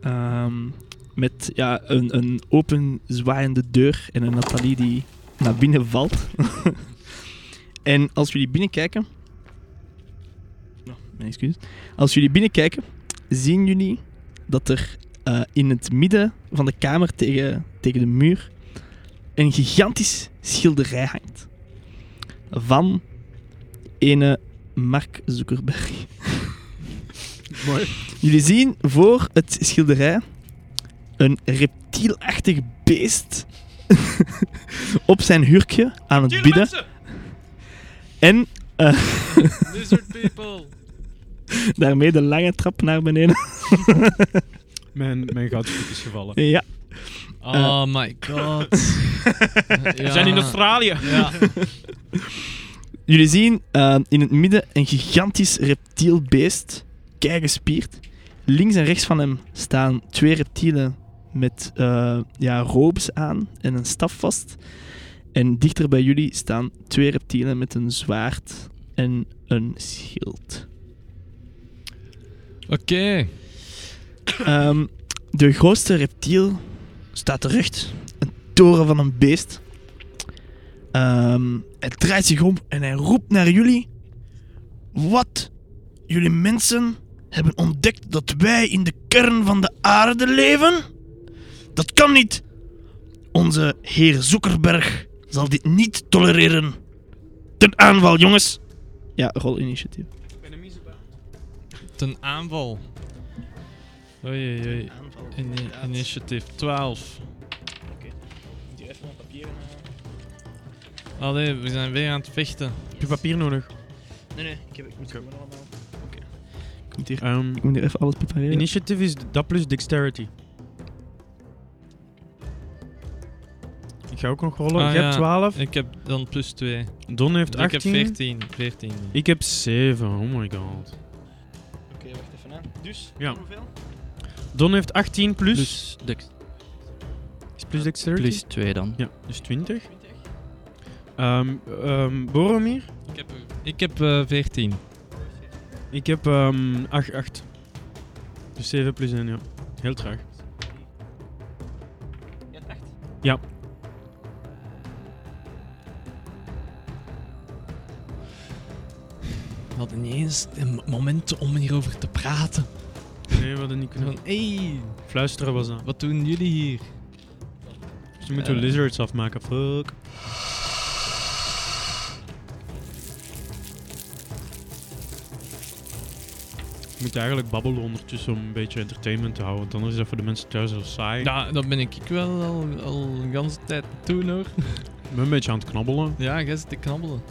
Ehm, met ja, een, een open zwaaiende deur en een Nathalie die naar binnen valt. en als jullie binnenkijken. Oh, mijn excuses. Als jullie binnenkijken, zien jullie dat er eh, in het midden van de kamer tegen, tegen de muur een gigantisch schilderij hangt. Van ene Mark Zuckerberg. Mooi. Jullie zien voor het schilderij een reptielachtig beest op zijn hurkje aan het bidden. En eh, Lizard people! daarmee de lange trap naar beneden. Mijn, mijn goudvoet is gevallen. ja. Oh my god. We zijn in Australië. Ja. Jullie zien eh, in het midden een gigantisch reptiel beest, gespierd. Links en rechts van hem staan twee reptielen met eh, ja, robes aan en een staf vast. En dichter bij jullie staan twee reptielen met een zwaard en een schild. Oké. Ehm, de grootste reptiel staat terecht. Een toren van een beest. Ehm, hij draait zich om en hij roept naar jullie. Wat? Jullie mensen hebben ontdekt dat wij in de kern van de aarde leven? Dat kan niet. Onze heer Zuckerberg zal dit niet tolereren. Ten aanval, jongens. Ja, rol initiatief. Ten aanval. Oei, oei, oei. Aanval. Ini- initiative 12. Allee, we zijn weer aan het vechten. Heb je papier nodig? Nee, nee, ik heb het. Ik allemaal. Ik moet hier Ehm, Ik moet hier even alles prepareren. initiative is dat plus dexterity. Ik ga ook nog rollen. Ah, ik heb ja. 12. Ik heb dan plus 2. Don heeft Ik heb 18. 14. 14. Ik heb 7. Oh my god. Oké, wacht even aan. Dus, Ja. hoeveel? Don heeft 18 plus. Plus, dex- Dus- is plus dexterity. plus 2 dan. Ja, dus 20. Ehm ehm, Boromir? Ik heb, ik heb eh, 14. Ik heb ehm 8, 8. Dus 7 plus 1, ja. Heel traag. Ja. Eh, We hadden niet eens een moment om hierover te praten. Nee, we hadden niet kunnen. Van, hey, Fluisteren was dat. wat doen jullie hier? Dus we moeten Eh. lizards afmaken. Fuck. Je moet eigenlijk babbelen ondertussen om een beetje entertainment te houden. Want anders is dat voor de mensen thuis heel saai. Ja, dat ben ik ik wel al, al een ganse tijd toen hoor. Ik ben een beetje aan het knabbelen. Ja, jij zit te knabbelen.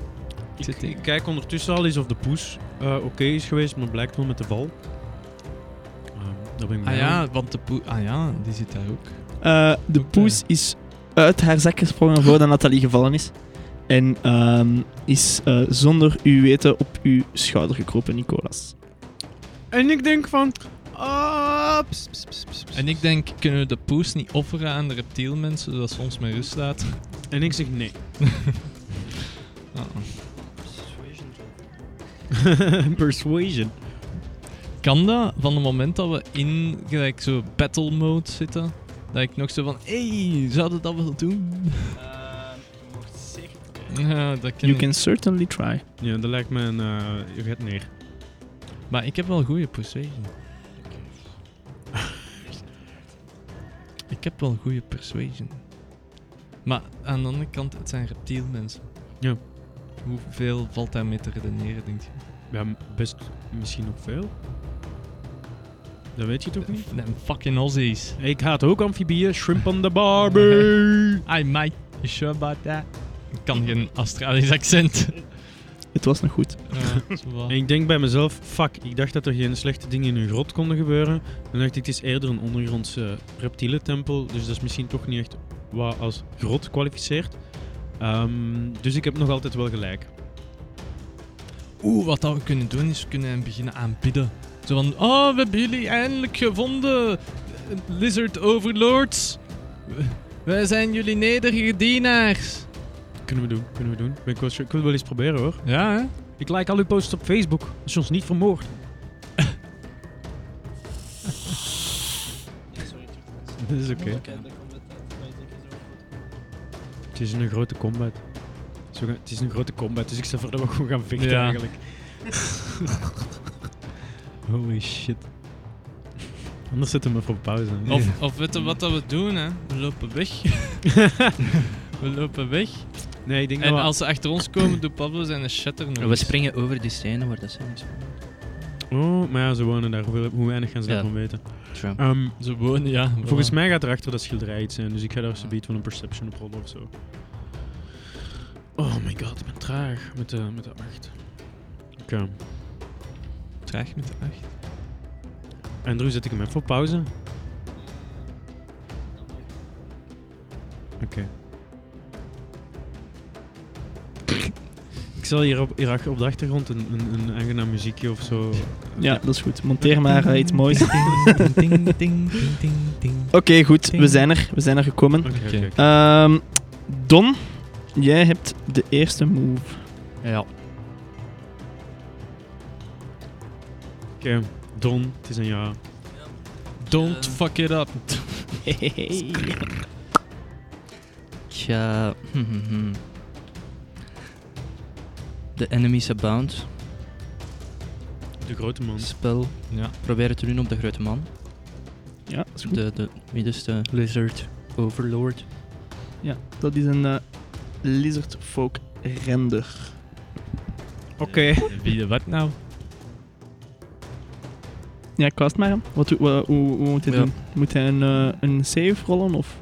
Ik, zit in- ik kijk ondertussen al eens of de poes eh, oké is geweest, maar blijkt wel met de val. Ehm dat ben ik Ah blij om. ja, want de poe... Ah ja, die zit daar ook. Eh, de poes is uit haar zak gesprongen voordat Nathalie gevallen is. En ehm, is eh, zonder uw weten op uw schouder gekropen, Nicolas. En ik denk van... Ah, ps, ps, ps, ps, ps. En ik denk, kunnen we de poes niet offeren aan de reptielmensen, zodat ze ons met rust laten? en ik zeg nee. Ah, Persuasion. Kan dat van het moment dat we in gelijk zo battle mode zitten, dat ik nog zo van, hey, zouden dat wel doen? Ehm, Ja, dat ken You ik. can certainly try. Ja, dat lijkt me een... eh, je gaat neer. Maar ik heb wel goede persuasion. ik heb wel goede persuasion. Maar aan de andere kant, het zijn reptielmensen. Ja. Hoeveel valt daarmee te redeneren, denk je? Ja, m- best misschien nog veel. Dat weet je toch niet? Them fucking Aussies. Ik haat ook amfibieën. Shrimp on the barbie. Hi mate, you sure about that? Ik kan geen Australisch accent. Het was nog goed. Eh, zo wat. En ik denk bij mezelf, fuck, ik dacht dat er geen slechte dingen in een grot konden gebeuren. Dan dacht ik, het is eerder een ondergrondse reptielentempel, dus dat is misschien toch niet echt wat als grot kwalificeert. Ehm, dus ik heb nog altijd wel gelijk. Oeh, wat dat we kunnen doen is, we kunnen hem beginnen aanbidden. Zo van, oh, we hebben jullie eindelijk gevonden, lizard overlords. W- Wij zijn jullie nederige dienaars. Kunnen we doen, kunnen we doen. Ben Ik, wel, ik wil het wel eens proberen hoor. Ja, hè? Ik like al uw posts op Facebook, als je ons niet vermoord. Dat is oké. Het is een grote combat. Zo ga- het is een grote combat, dus ik stel voor dat we gewoon gaan vechten Ja. eigenlijk. Holy shit. Anders zetten we hem even op pauze. hè. Of, of weet je wat dat we doen, hè? We lopen weg. we lopen weg. Nee, ik denk dat En we... als ze achter ons komen, doet Pablo zijn shatter nog We eens. springen over die scène waar dat zijn. Oh, maar ja, ze wonen daar. Hoeveel- Hoe weinig gaan ze Ja. daarvan weten? Trump. Ehm, Ze wonen, ja. Volgens voilà. mij gaat er achter dat schilderij iets zijn, dus ik ga daar zoiets van een perception op rollen of zo. Oh my god, ik ben traag met de, met de 8. Oké. Traag met de acht. Andrew, zet ik hem even op pauze? Ik zal hier op, hier op de achtergrond een, een, een aangenaam muziekje of zo. Ja, dat is goed. Monteer maar eh, iets moois. Oké, Ding, ding, ding, ding, ding, ding. goed. We zijn er. We zijn er gekomen. Oké, oké, oké. Ehm, Don, jij hebt de eerste move. Ja. Oké, Don, het is een ja. Don't fuck it up. Tja. hm, The enemies abound. De grote man. Spel. Ja. Proberen te doen op de grote man. Ja, dat is goed. De, de middenste lizard overlord. Ja, dat is een eh, lizard folk render. Oké. Wie de wat nou? Ja, kwast maar. hè. Wat, doe- wa- hoe, hoe moet hij Ja. doen? Moet hij een, eh, een save rollen of...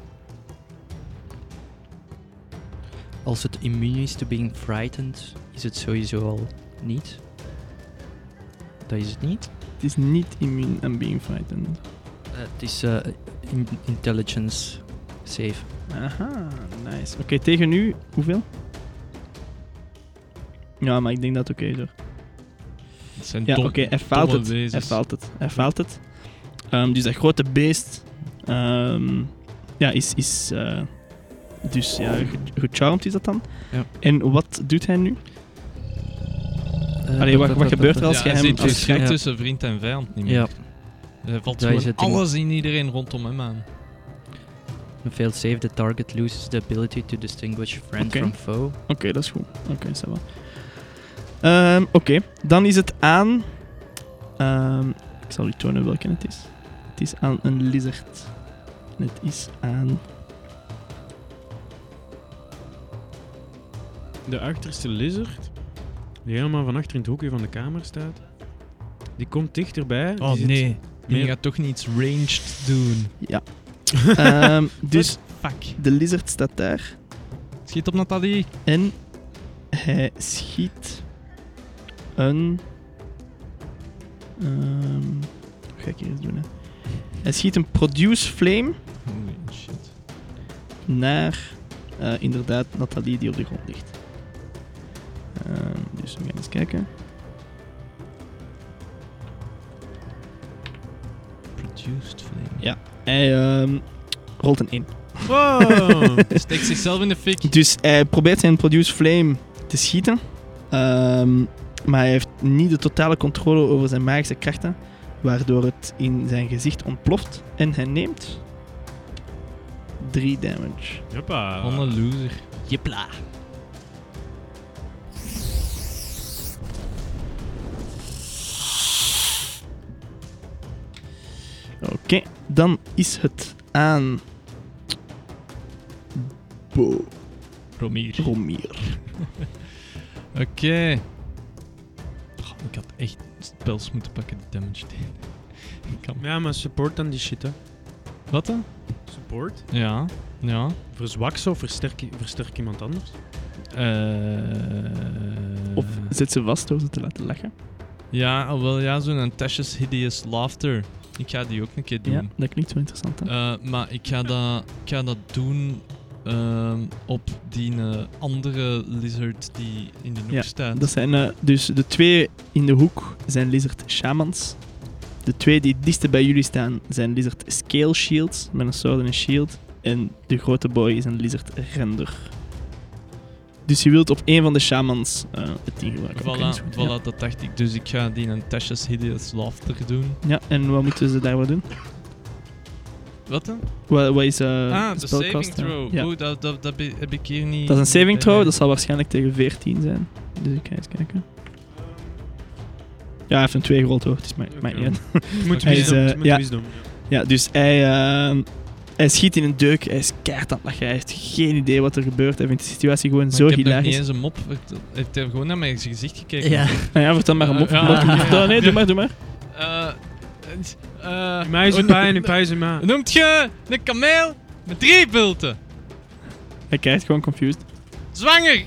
Als het immuun is to being frightened, is het sowieso al niet. Dat is het niet. Het is niet immune aan being frightened. Eh, het is eh, in- intelligence save. Aha, nice. Oké, tegen nu, hoeveel? Ja, maar ik denk dat het oké is hoor. Dat zijn Ja, dom- oké, hij faalt domme het. Hij wezens. faalt het. Hij faalt het. Ehm, dus dat grote beest ehm, ja, is, is eh, dus ja, ge- gecharmed is dat dan. Ja. En wat doet hij nu? Eh, Allee, wat- wat gebeurt er als Ja, je hij hem ziet als- verschrikt ja. tussen vriend en vijand niet meer. Ja, Hij Eh, valt Daar is gewoon het ding. alles in iedereen rondom hem aan. een failed save, the target loses the ability to distinguish friend Oké. from foe. Oké, dat is goed. Oké, ça va. Ehm, Oké, dan is het aan. ehm, ik zal u tonen welke het is. Het is aan een lizard. En het is aan. De achterste lizard, die helemaal van achter in het hoekje van de kamer staat, die komt dichterbij. Die Oh zit- nee, meer- je gaat toch niet iets ranged doen. Ehm, dus Fuck. de lizard staat daar. Schiet op Nathalie. En hij schiet een. ehm, wat ga ik hier eens doen? Hè? Hij schiet een produce flame Holy shit. naar eh, inderdaad Nathalie die op de grond ligt. Ehm, dus we gaan eens kijken. Produced flame. Hij ehm, rolt een 1. Wow! Steekt zichzelf in de fik. Dus hij probeert zijn produce flame te schieten. Ehm, maar hij heeft niet de totale controle over zijn magische krachten. Waardoor het in zijn gezicht ontploft. En hij neemt 3 damage. Hoppa. Wat een loser. Jepla. Oké, dan is het aan Bo Romier. Romier. Oké. Goh, ik had echt spels moeten pakken die damage deden. Ik kan... Ja, maar support dan die shit, hè. Wat dan? Support? Ja. Ja. Verzwak zo, versterk, versterk iemand anders. Eh. Of zet ze vast door ze te laten lachen. Ja, oh, wel ja, zo'n Tasha's Hideous Laughter. Ik ga die ook een keer doen. Ja, dat klinkt wel interessant. Hè? Eh, maar ik ga dat, ik ga dat doen ehm, op die eh, andere lizard die in de hoek Ja, staat. Dat zijn eh, dus de twee in de hoek zijn lizard shamans. De twee die het dichtst bij jullie staan zijn lizard scale shields met een sword en een shield. En de grote boy is een lizard render. Dus je wilt op één van de shamans eh, het ding gebruiken. Oké, dat is Voilà, goed, voilà dat dacht ik. Dus ik ga die een Tasha's Hideous Laughter doen. Ja. ja, en wat moeten ze daarvoor doen? Wat dan? Wat, wat is eh, ah, de spelkost, saving ja? throw. Ja. Oeh, dat, dat, dat be- heb ik hier niet... Dat is een saving throw, Eh, dat zal waarschijnlijk tegen 14 zijn. Dus ik ga eens kijken. Ja, hij heeft een 2 gerold hoor, het is mij, mij niet uit. Je moet Hij is, wisdom, eh, je moet ja. wisdom. Ja, dus hij, ehm, hij schiet in een deuk, hij is keihard aan het lachen, hij heeft geen idee wat er gebeurt. Hij vindt de situatie gewoon maar zo ik heb nog niet hilarisch. eens een mop. Het- Heeft hij gewoon naar mijn gezicht gekeken? Ja. Nou ja, vertel maar hem op. Eh, ja. Wat doe je? nee, doe maar, doe maar. Eh, eh, eh, Mij is een pijn, een pijn is een ma. Noemt je een kameel met drie bulten? Hij kijkt gewoon confused. Zwanger!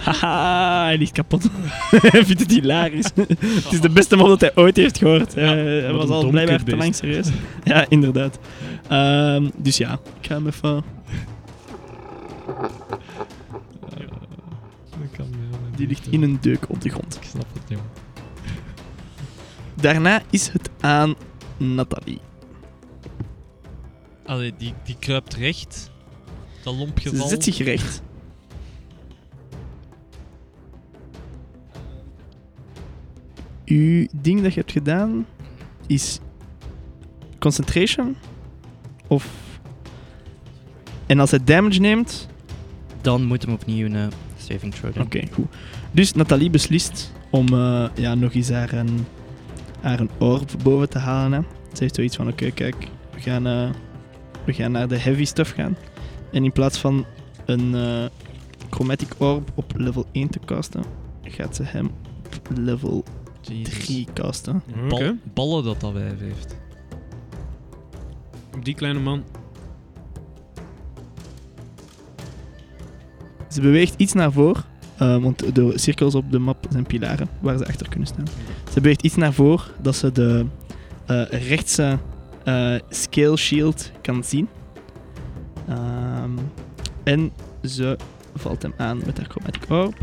Haha, hij ligt kapot. hij vindt het hilarisch. het is de beste mop dat hij ooit heeft gehoord. Eh, hij wat was een al dom blijkbaar te kutbeest. lang serieus. ja, inderdaad. Ehm, dus ja, ik ga hem even... Die ligt in een deuk op de grond. Ik snap het, jongen. Daarna is het aan Nathalie. Allee, die, die kruipt recht. Dat Ze lompgeval. zit zich recht. Uw ding dat je hebt gedaan is concentration of en als hij damage neemt, Dan moet hem opnieuw een eh, saving throw doen. oké, goed. Dus Nathalie beslist om eh, ja, nog eens haar een, haar een orb boven te halen. Hè. Ze heeft zoiets van, oké, kijk, we gaan, eh, we gaan naar de heavy stuff gaan. En in plaats van een eh, chromatic orb op level 1 te casten, gaat ze hem op level Jezus. 3 casten. Oké. Bal- ballen dat dat wijf heeft. Die kleine man. Ze beweegt iets naar voren, eh, want de cirkels op de map zijn pilaren waar ze achter kunnen staan. Ze beweegt iets naar voren dat ze de eh, rechtse eh, scale shield kan zien. Ehm, en ze valt hem aan met haar chromatic orb.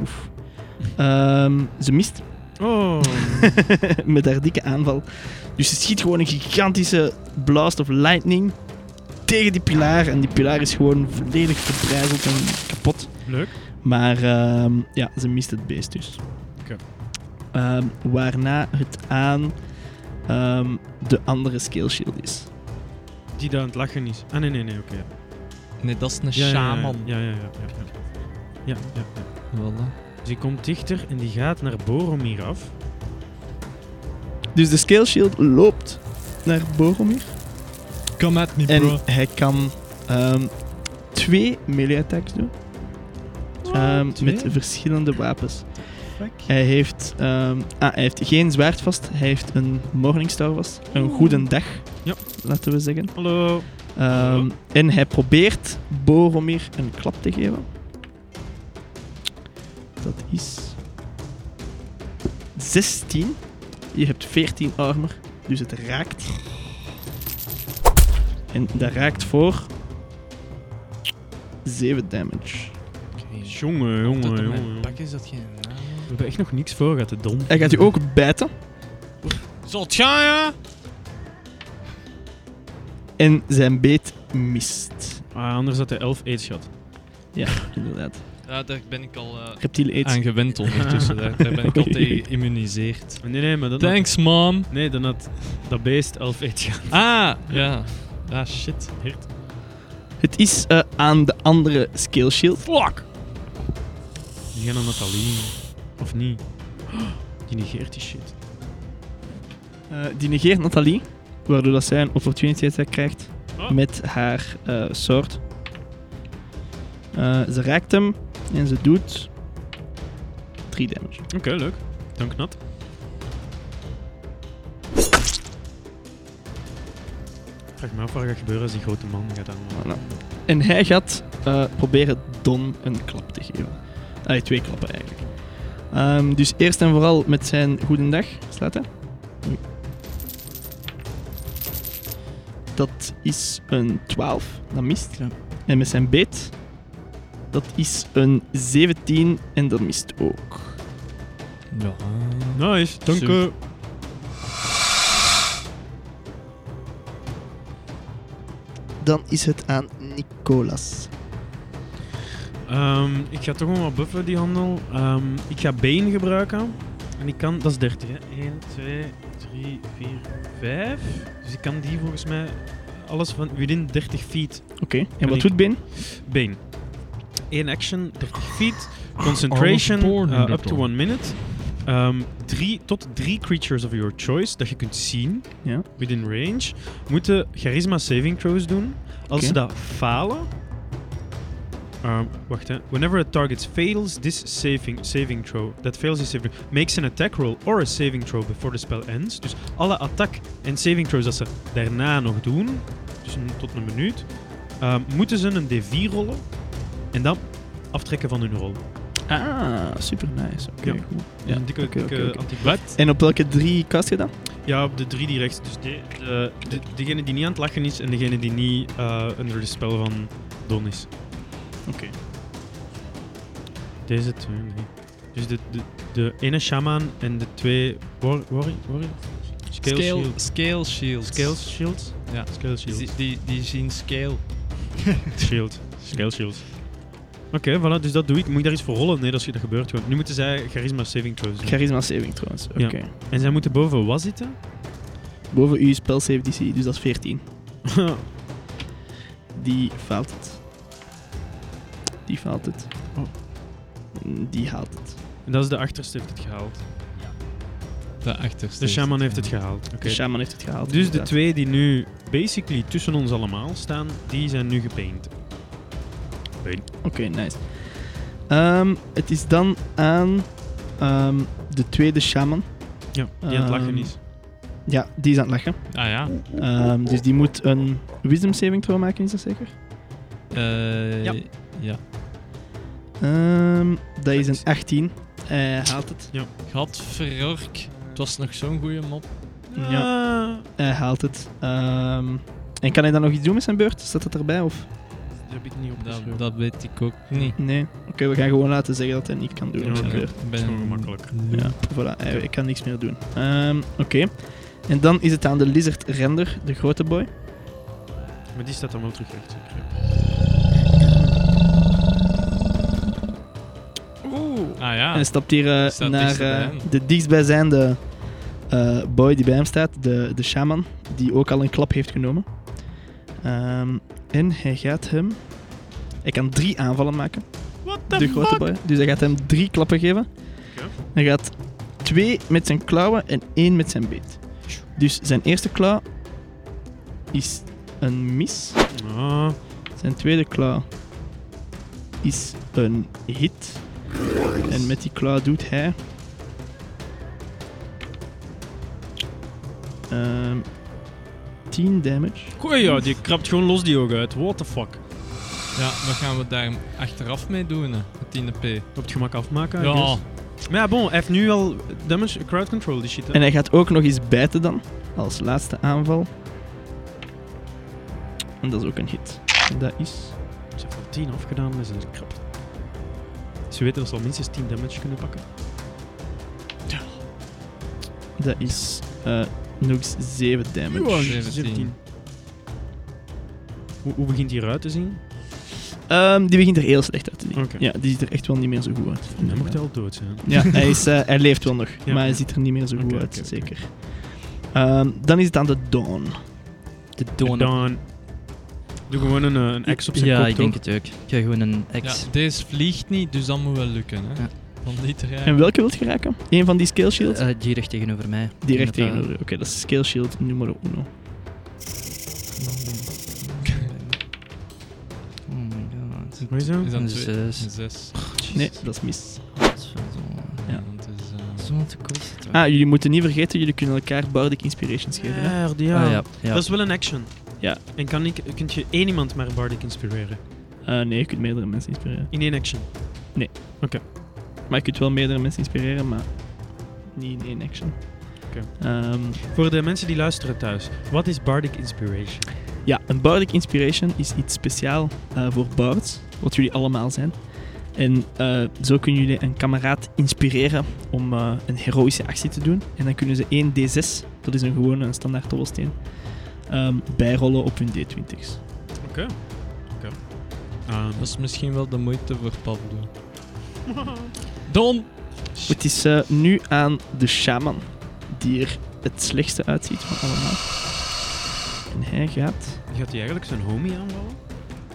Oef. Ehm, ze mist Oh. met haar dikke aanval. Dus ze schiet gewoon een gigantische blast of lightning tegen die pilaar. En die pilaar is gewoon volledig verbrijzeld en kapot. Leuk. Maar ehm, ja, ze mist het beest dus. Oké. Ehm, waarna het aan ehm, de andere scale shield is. Die daar aan het lachen is. Ah, nee, nee, nee, oké. Ja, Nee, dat is een ja, ja, shaman. Ja, ja, ja. ja, ja. Ja, ja, ja. Voilà. Dus die komt dichter en die gaat naar Boromir af. Dus de scale shield loopt naar Boromir. Kan het niet, En bro. hij kan ehm, twee melee attacks doen. Ehm, met verschillende wapens. Hij heeft, ehm, ah, hij heeft geen zwaard vast, hij heeft een Morningstar vast. Een goede dag, Ja. laten we zeggen. Hallo. Ehm, en hij probeert Boromir een klap te geven. Dat is 16. Je hebt 14 armor, dus het raakt. En dat raakt voor 7 damage. Jongen, Dat jongen, op jongen. mijn pak is dat geen naam. We hebben echt nog niks voor gehad, de dom. Hij gaat u ook bijten. Zot, ja, ja. En zijn beet mist. Ah, anders had hij 11 aids gehad. Inderdaad. Ja, daar ben ik al eh, Reptiele eet. aan gewend ondertussen. daar, daar ben ik al tegen geïmmuniseerd. Nee, nee, maar dan had- Thanks, mom. nee, dan had dat beest 11 aids gehad. Ah, ja. Ah, shit. Het is eh, aan de andere scale shield. Fuck! Die gaan naar Nathalie. Of niet? Die negeert die shit. Eh, die negeert Nathalie, waardoor dat zij een opportunity attack krijgt Oh. met haar eh sword. Eh, ze raakt hem en ze doet 3 damage. Oké, leuk. Dank Nat. Vraag me af wat gaat gebeuren als die grote man gaat aan. Voilà. En hij gaat eh, proberen Don een klap te geven. Allee, twee klappen eigenlijk. Ehm, dus eerst en vooral met zijn goedendag. Slaat hij? Oei. Dat is een 12. Dat mist. Ja. En met zijn beet. Dat is een 17 en dat mist ook. Ja. Nice, dank Zo. u. Dan is het aan Nicolas. Ehm, ik ga toch gewoon wat buffen, die handel. Ehm, ik ga been gebruiken. En ik kan, dat is 30, hè? 1, 2, 3, 4, 5. Dus ik kan die volgens mij alles van within 30 feet Oké, en wat doet Ben? been. 1 action, 30 feet. Concentration, Alles born eh, in dat up to dan. 1 minute. Ehm, drie, tot 3 creatures of your choice dat je kunt zien Ja. within range moeten charisma saving throws doen. Als Oké. ze dat falen. Ehm, wacht hè. Whenever a target fails this saving, saving throw, that fails this saving makes an attack roll or a saving throw before the spell ends. Dus alle attack en saving throws dat ze daarna nog doen, dus een- tot een minuut, ehm, moeten ze een D4 rollen en dan aftrekken van hun rol. Ah, super nice. Oké, Ja. goed. Dus een dikke, oké, dikke oké, oké. anti- Wat? En op welke drie kast je dan? Ja, op de drie die rechts. Dus de, de, de- degene die niet aan het lachen is en degene die niet eh, onder de spel van Don is. Oké. Deze twee, nee. Dus de, de, de ene shaman en de twee war, war, war, scale, Scale, shield- scale shields. Scale shields? Ja. Scale shields. Die, die, die zien scale. Shield. Scale shields. Oké, voilà, dus dat doe ik. Moet ik daar iets voor rollen? Nee, dat, is, dat gebeurt gewoon. Nu moeten zij charisma saving throws doen. Charisma saving trouwens. Oké. Ja. En zij moeten boven wat zitten? Boven uw spel save DC, dus dat is 14. oh, Die faalt het. Die faalt het. Oh. Mm, Die haalt het. en dat is de achterste heeft het gehaald. De achterste. De shaman heeft het gehaald. Oké. De shaman heeft het gehaald. Dus de inderdaad. twee die nu basically tussen ons allemaal staan, die zijn nu gepaint. Oké, nice. Ehm, het is dan aan ehm, de tweede shaman. Ja, Ehm, die aan het lachen is. Ja, die is aan het lachen. Ah ja. Ehm, dus die moet een wisdom saving throw maken, is dat zeker? Eh, Ja. ja. Ehm, dat is een 18. Hij haalt het. Gadverork. Het was nog zo'n goede mop. Ja. Hij haalt het. Ehm, en kan hij dan nog iets doen met zijn beurt? Staat dat erbij of? dat heb ik niet Dat, opgeschreven. dat weet ik ook niet. Nee. Oké, we gaan gewoon laten zeggen dat hij niet kan doen Ja, met zijn oké. beurt. Ik is ben gewoon gemakkelijk. Ja, voilà. Hij, hij kan niks meer doen. Ehm, Oké. En dan is het aan de lizard render, de grote boy. Maar die staat dan wel terug recht. zeker? Ah ja. En stapt hier eh, Staat naar dichterbij eh, hem. de dichtstbijzijnde eh, boy die bij hem staat, de, de shaman, die ook al een klap heeft genomen. Ehm, en hij gaat hem. Hij kan drie aanvallen maken. de grote boy. Dus hij gaat hem drie klappen geven. Oké. Hij gaat twee met zijn klauwen en één met zijn beet. Dus zijn eerste klauw is een mis. Ah, Zijn tweede klauw is een hit. En met die klauw doet hij. ehm 10 damage. Goeie, ja, die krabt gewoon los die ogen uit. What the fuck. Ja, wat gaan we daar achteraf mee doen? hè? Het 10 P. Op het gemak afmaken. I Ja. guess. Maar ja, bon, hij heeft nu al damage crowd control, die shit. hè. En hij gaat ook nog eens bijten dan. Als laatste aanval. En dat is ook een hit. En dat is. Ze heeft al 10 afgedaan, dus dat is krap. Ze weten dat ze al minstens 10 damage kunnen pakken. Dat is. eh, nog eens 7 damage. Ja, 17. Hoe, hoe begint die eruit te zien? Ehm, die begint er heel slecht uit te zien. Oké. Ja, die ziet er echt wel niet meer zo goed uit. Dan mocht hij al dood zijn. Ja, hij, is, eh, hij leeft wel nog, Ja. maar hij ziet er niet meer zo goed Oké, uit, oké, oké. zeker. Ehm, dan is het aan de Dawn. De donor. Dan doe gewoon een, eh, een X op zijn ja, kop, ik toch? denk het ook. Ik ga gewoon een Ja, X. deze vliegt niet, dus dat moet wel lukken. Hè? Ja. Van die terrein. En welke wilt je raken? Eén van die scale shields? Eh, die recht tegenover mij. die recht Inderdaad. tegenover. Oké, dat is scale shield nummer uno. Oh my god. Wat is dat? Is Een dat twee? zes. Een zes. Nee, dat is mis. Godverdomme. Ja. En het is, eh, Zo'n te kost. Ah, jullie moeten niet vergeten, jullie kunnen elkaar bardic inspirations geven. Hè? Herd, Ah, ja. ja. ja. Dat is wel een action. Ja. En kan ik, kun je één iemand maar bardic inspireren? Eh, nee, je kunt meerdere mensen inspireren. In één action. Maar je kunt wel meerdere mensen inspireren, maar niet in één action. Oké. Ehm, Voor de mensen die luisteren thuis, wat is bardic inspiration? Ja, een Bardic Inspiration is iets speciaal eh, voor bards, wat jullie allemaal zijn. En eh, zo kunnen jullie een kameraad inspireren om eh, een heroïsche actie te doen. En dan kunnen ze 1d6, dat is een gewone een standaard dobbelsteen, ehm, bijrollen op hun d20's. Oké. Oké. Ehm, dat is misschien wel de moeite voor Pablo. Don! Het is eh, nu aan de shaman, die er het slechtste uitziet van allemaal. En hij gaat... Gaat hij eigenlijk zijn homie aanvallen?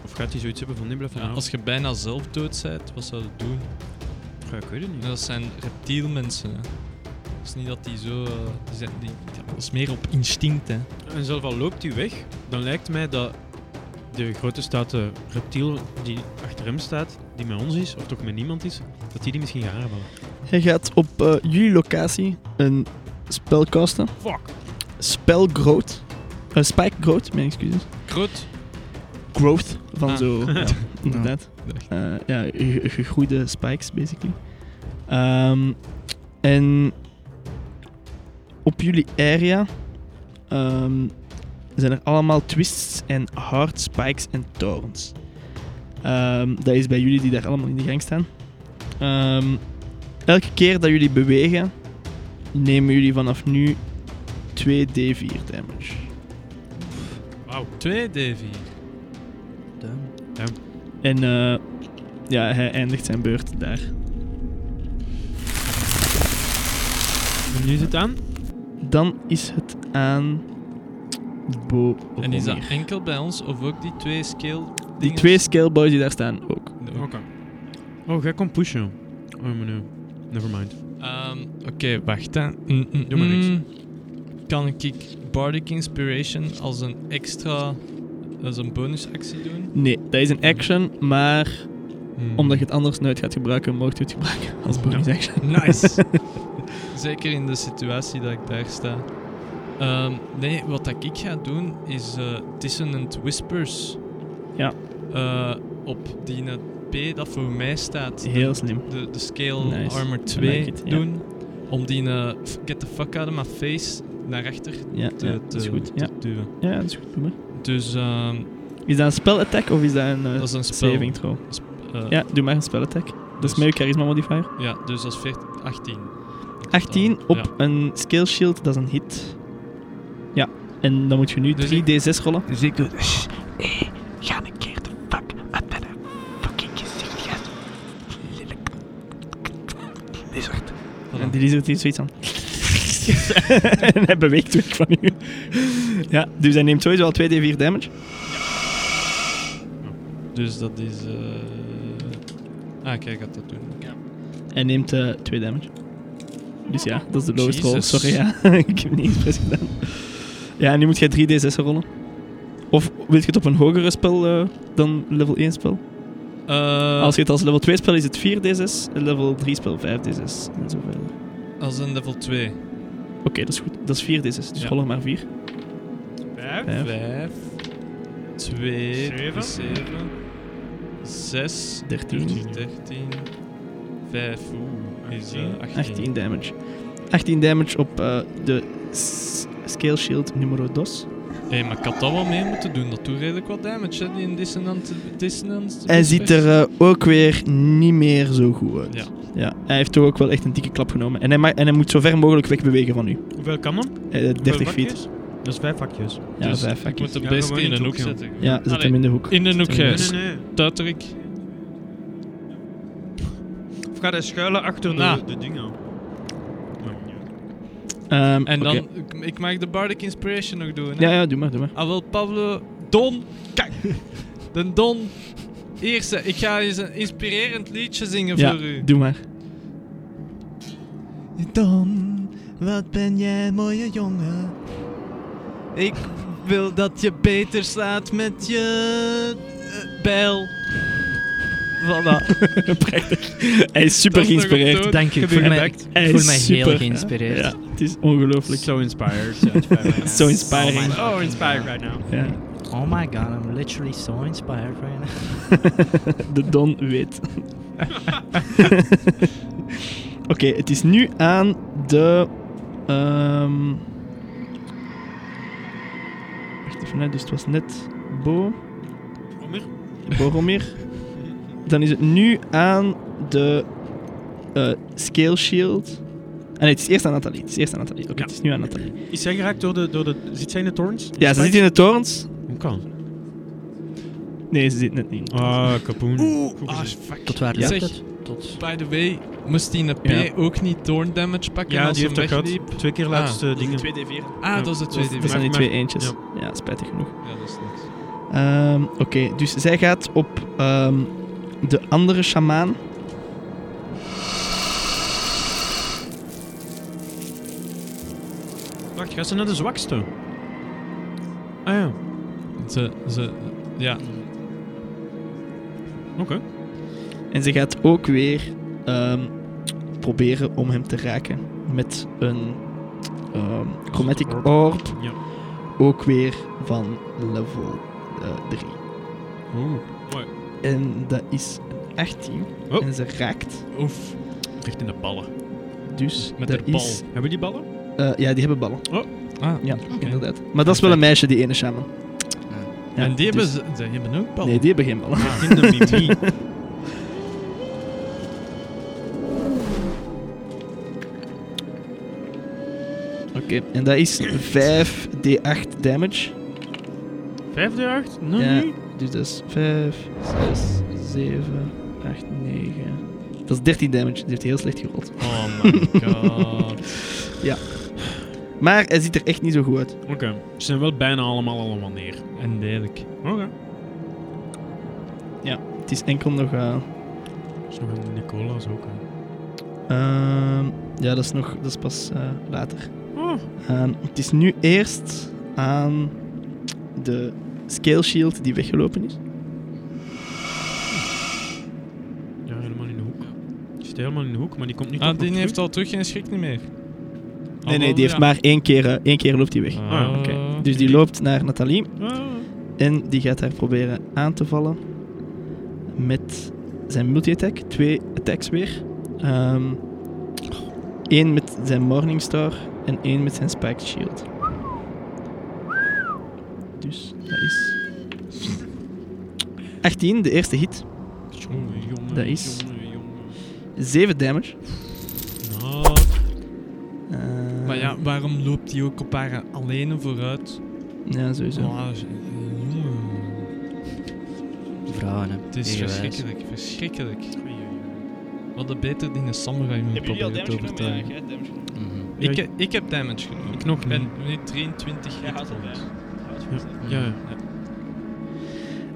Of gaat hij zoiets hebben van nibbelen van Ja, als je bijna zelf dood bent, wat zou je doen? "Ah, ik weet het niet. Ja, dat zijn reptielmensen. hè. Het is niet dat die zo. eh, die zijn, die, ja, dat is meer op instinct, hè? En zelf al loopt hij weg, dan lijkt mij dat de grote stoute reptiel die achter hem staat, die met ons is, of toch met niemand is, dat die die misschien gaat aanvallen. Hij gaat op eh, jullie locatie een spel casten. Fuck! spel growth. eh, spike growth, mijn excuses. Groot. Growth van Ah. zo. ja, inderdaad. Eh, ja, ge- ge- gegroeide spikes, basically. Ehm, en op jullie area ehm, zijn er allemaal twists en hard spikes en torens. Ehm, dat is bij jullie die daar allemaal in de gang staan. Ehm, elke keer dat jullie bewegen, nemen jullie vanaf nu 2d4 damage. Wauw. 2d4. Damn. En eh, ja, hij eindigt zijn beurt daar. En nu zit aan. Dan is het aan Bo. En is dat Okomir. enkel bij ons of ook die twee scale Die twee scaleboys die daar staan ook. Oké. Oh, jij komt pushen. Oh, maar nu. Never mind. Ehm, Oké, wacht. Hè. Mm, mm, Doe maar niks. mm. Kan ik Bardic Inspiration als een extra, als een bonusactie doen? Nee, dat is een action, maar Hmm. omdat je het anders nooit gaat gebruiken, mocht je het gebruiken als bonus action. Nice! Zeker in de situatie dat ik daar sta. Ehm, nee, wat dat ik ga doen is eh, Dissonant Whispers. Ja. Eh, op die P dat voor mij staat. Heel slim. de, de scale Nice. armor I 2 like it, ja. doen. Om die eh, f- get the fuck out of my face naar achter Ja, te, ja, te, dat is goed. te Ja, duwen. ja dat is goed. Doe maar. Dus ehm, Is dat een spelattack of is dat een, eh, dat is een spel. saving throw? eh, Ja, doe maar een spelattack. Dat is Dus- met je charisma modifier. ja, dus dat is 14, 18. 18 Dan- op ja. een skill shield, dat is een hit. Ja, en dan moet je nu Dus 3d6 rollen. Dus ik doe... Shh, hey, ga een keer de fuck uit mijn fucking gezicht, gast. Lelijk. Die lizard. Voilà. En die lizard heeft zoiets aan. en hij beweegt weg van u. ja, dus hij neemt sowieso al 2d4 damage. Dus dat is. eh Ah, kijk, gaat dat doen. Ja. Hij neemt eh 2 damage. Dus ja, dat is de lowest roll. Jesus. Sorry, ja. ik heb het niet expres gedaan. Ja, en nu moet jij 3d6 rollen. Of wil je het op een hogere spel eh, dan level 1 spel? Eh, als je het als level 2 spel is het 4d6, en level 3 spel 5d6 en zo verder. als een level 2. Oké, dat is goed. Dat is 4d6, dus Ja. rol er maar 4. Vijf. 5, 5, 2, Zeven. 7, 6, 13, 13, 5, oeh, is eh, 18 damage. 18 damage op eh, de s- scale shield nummer 2. Hé, hey, maar ik had dat wel mee moeten doen. Dat doet redelijk wat damage, hè, die in dissonant... dissonant Hij ziet er eh, ook weer niet meer zo goed uit. Dus Ja. Ja, hij heeft toch ook wel echt een dikke klap genomen. En hij, ma- en hij moet zo ver mogelijk wegbewegen van u. Hoeveel kan dan? Eh, 30 feet. Dat is vijf vakjes. Ja, Dus vijf Ik vakjes. moet hem Ja, best gewoon in in het een hoek hoekje. zetten. Ja, zet hem in de hoek. in een hoek, Zet hem in de Gijs. Nee, nee. Tuiterik. Of gaat hij schuilen achter Ah. de, de dingen? Oh, hoek. Ehm, En oké. dan... Ik, ik mag de Bardic Inspiration nog doen, hè? Ja, ja, doe maar, doe maar. Ah, wel, Pablo... Don... Kijk. De Don... Eerste, ik ga eens een inspirerend liedje zingen Ja, voor u. doe maar. Don, wat ben jij mooie jongen. Ik wil dat je beter slaat met je eh, bijl. Voilà. Prachtig. Hij is super Dat is nog op geïnspireerd. dood. Dank je, ik Gebeurt voel mij, ik dat? Hij voel is mij super, heel ja. geïnspireerd. Ja, het is ongelooflijk. So inspired. Zo inspiring. Oh my Oh, inspired right now. Ja. Oh my god, I'm literally so inspired right now. De Don weet. Oké, het is nu aan de. ehm Wacht even, hè, dus het was net Bo. Boromir. Dan is het nu aan de eh, Scale Shield. Ah, nee, het is eerst aan Nathalie. Het is eerst aan Nathalie. Oké, Ja. het is nu aan Nathalie. Is zij geraakt door de, door de... Zit zij in de torens? Ja, ze zit in de torens. Hoe kan? Nee, ze zit net niet. in de torens. Ah, kapoen. Goed Ah, gezien. fuck. Tot waar Ja. lukt Zeg. het? Tot... By the way, moest die P Ja. ook niet thorn damage pakken Ja, als die hij heeft dat wegliep? gehad. Twee keer Ah. laatste Dat is dingen. de 2D4. Ah, dat is het tweede. Dat zijn weer. die maar- twee eentjes. Ja, spijtig genoeg. Ja, dat is niks. Ehm, Oké, dus zij gaat op ehm, de andere shamaan. Wacht, gaat ze naar de zwakste? Ah ja, Ze, ze, ja, oké. En ze gaat ook weer ehm, proberen om hem te raken met een ehm, chromatic Orb. orb. Ja. Ook weer van level 3. Oeh. en dat is een 18. Oh. En ze raakt. oef. Recht in de ballen. Dus Met dat haar bal. is Hebben we die ballen? Eh, ja, die hebben ballen. Ah, Ja, oké. inderdaad. Maar dat is wel een meisje, die ene shaman. Ja, en die hebben, dus- ze, ze hebben ook ballen. Nee, die hebben geen ballen. Ah, Kinder niet wie. Oké, en dat is 5d8 damage. 5D8? Nee. Ja, dus dat is 5, 6, 7, 8, 9. Dat is 13 damage. Die heeft heel slecht gerold. Oh my god. Maar hij ziet er echt niet zo goed uit. Oké. Ze zijn wel bijna allemaal allemaal neer. En lelijk. Oké. Het is enkel nog. eh, Dat is nog een Nicolaas ook. hè. ehm, ja, dat is, nog, dat is pas eh, later. Oh. Ehm, het is nu eerst aan de scale shield die weggelopen is. Ja, helemaal in de hoek. Die zit helemaal in de hoek, maar die komt niet Ah, op die nog heeft terug. al terug geen schrik niet meer. Ah, Nee, Oh, nee, die heeft maar één keer, eh, één keer loopt die weg. Ah, oké. Dus die loopt naar Nathalie Ah. en die gaat haar proberen aan te vallen met zijn multi-attack. Twee attacks weer. Ehm Eén met zijn Morningstar en één met zijn Spiked Shield. Dus dat is... 18, de eerste hit. Jongen, jongen, Dat is- jongen, jongen. 7 damage. Nou, Ehm, Maar ja, waarom loopt die ook op haar alleen vooruit? Ja, sowieso. Oh, z- jongen. Vrouwen, hè. Het is Tegenwijs. verschrikkelijk, verschrikkelijk. Wat een beter ding is samurai om proberen te overtuigen. Mhm. Ja, ik- Ik, he- ik heb damage genomen. ik nog Ik niet. ben nu 23 hit points. Ja, ja.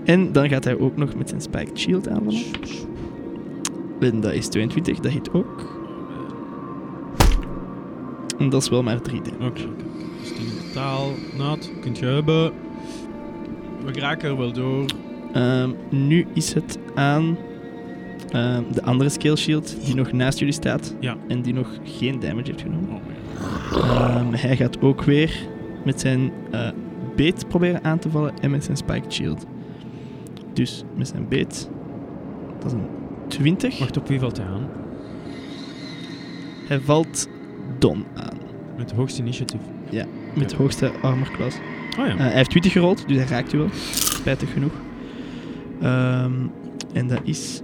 En dan gaat hij ook nog met zijn Spiked Shield aanvallen. En dat is 22, dat hit ook. En dat is wel maar 3 damage. Oké. Dus die in totaal, Nat, kunt je hebben. We raken er wel door. Ehm, nu is het aan ehm, de andere Scale Shield die nog naast jullie staat. Ja. Oh, En die nog geen damage heeft genomen. Ehm, hij gaat ook weer met zijn eh, beet proberen aan te vallen en met zijn Spiked Shield. Dus met zijn beet, dat is een 20. Wacht, op wie valt hij aan? Hij valt Don aan. Met het hoogste initiatief. Met de hoogste armor class. Oh Eh, ja. hij heeft 20 gerold, dus hij raakt u wel. Spijtig genoeg. Ehm, en dat is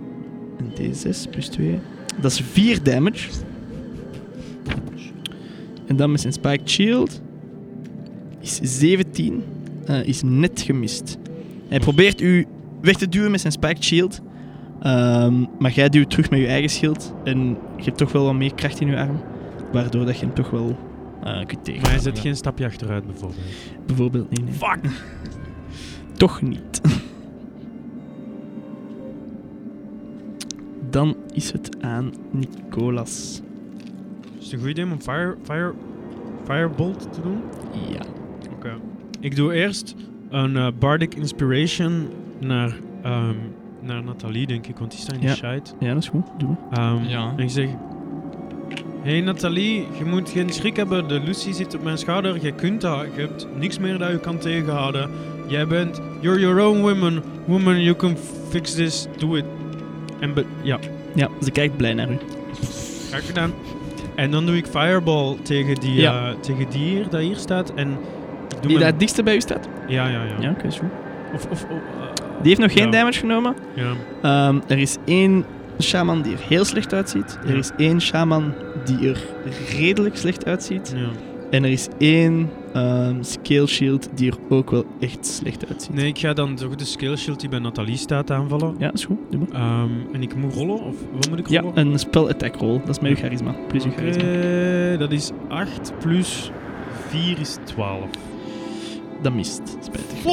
een D6 plus 2. Dat is 4 damage. En dan met zijn Spiked Shield is 17. eh, is net gemist. Hij probeert u weg te duwen met zijn Spiked Shield. Ehm, maar jij duwt terug met je eigen schild. En je hebt toch wel wat meer kracht in je arm. Waardoor dat je hem toch wel eh kunt tegen. Maar hij zet geen stapje achteruit bijvoorbeeld. Bijvoorbeeld niet. Fuck! Toch niet. Dan is het aan Nicolas. Is het een goed idee om een fire, fire, firebolt te doen? Ja. Oké. Ik doe eerst een eh, bardic inspiration naar, ehm, naar Nathalie, denk ik, want die staat in de Ja. shite. Ja, dat is goed. Doe maar. Ehm, Ja. En ik zeg... Hey Nathalie, je moet geen schrik hebben. De Lucy zit op mijn schouder. Je kunt dat. Je hebt niks meer dat je kan tegenhouden. Jij bent... You're your own woman. Woman, you can fix this. Do it. En be- ja, Ja, ze kijkt blij naar u. graag gedaan. En dan doe ik fireball tegen die, Ja. eh, tegen die hier, dat hier staat. En ik doe Die daar mijn- het dichtste bij u staat? Ja, ja, ja. Ja, oké, is goed. Of, of, of, eh, Die heeft nog geen Ja. damage genomen. ja. Ehm, er is één shaman die er heel slecht uitziet. Ja. Er is één shaman die er redelijk slecht uitziet. ja. En er is één ehm, scale shield die er ook wel echt slecht uitziet. Nee, ik ga dan toch de skill shield die bij Nathalie staat aanvallen. Ja, is goed. Doe maar. Ehm, en ik moet rollen, of wat moet ik Ja, rollen? een spell attack roll. Dat is met uw charisma. Plus uw Oké, charisma. dat is 8 plus 4 is 12. Dat mist, spijtig.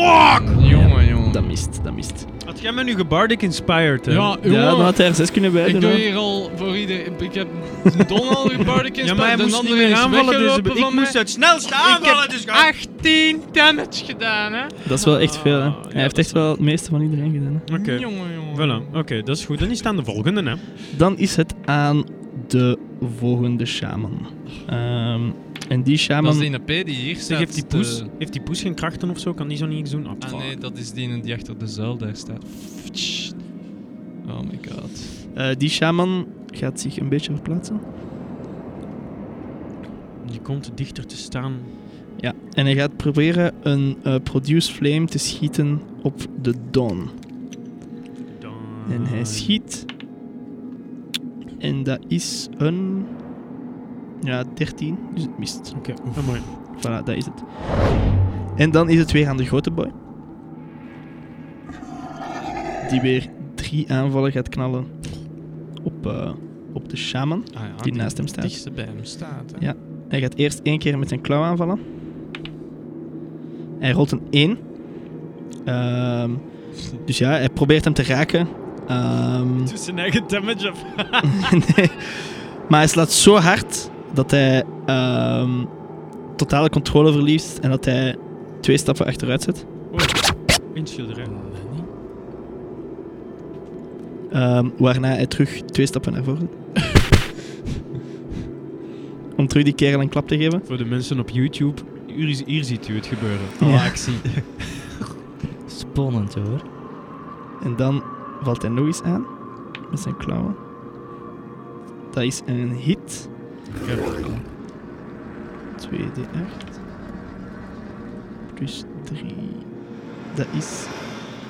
Jongen, jongen. Dat mist, dat mist. Had jij me nu gebardic inspired, hè? Ja, jongen. Ja, dan had hij er zes kunnen bij ik doen. doe hoor. hier al voor ieder... Ik heb Donald gebardic Ja, maar hij inspired, moest de niet andere meer is aanvallen, dus weggelopen ik van moest mij. het snelste aanvallen, dus ga... 18 damage gedaan, hè? Dat is wel echt veel, hè. Ah, ja, Hij heeft dat echt wel het meeste van iedereen gedaan. Oké, Jongen, jongen. voilà. Oké, dat is goed. Dan is het aan de volgende, hè. hè. Dan is het aan de volgende shaman. Ehm, en die shaman... Dat is die NP die hier Zeg, staat. heeft die, te- poes, heeft die poes geen krachten of zo? Kan die zo niet iets doen? eh, Ah, Ah fuck. nee, dat is die die achter de zuil daar staat. Oh my god. eh, die shaman gaat zich een beetje verplaatsen. Die komt dichter te staan. Ja, en hij gaat proberen een eh, Produce Flame te schieten op de Dawn. Dan- En hij schiet. En dat is een. Ja, 13. Dus het mist. Oké, mooi. Voilà, dat is het. En dan is het weer aan de grote boy. Die weer drie aanvallen gaat knallen op, eh, op de shaman. Ah, ja, die naast hem staat. dichtste bij hem staat. Hè? Ja. Hij gaat eerst één keer met zijn klauw aanvallen. Hij rolt een 1. Ehm, dus ja, hij probeert hem te raken. Ehm, Dus zijn eigen damage af. nee. Maar hij slaat zo hard dat hij ehm, totale controle verliest en dat hij twee stappen achteruit zet. Inschilderen. Ehm, waarna hij terug twee stappen naar voren zet. Om terug die kerel een klap te geven. Voor de mensen op YouTube, hier, is- hier ziet u het gebeuren. Oh, Ja. actie. Spannend hoor. En dan valt hij nog eens aan met zijn klauwen. Dat is een hit. 2d8 plus 3. Dat is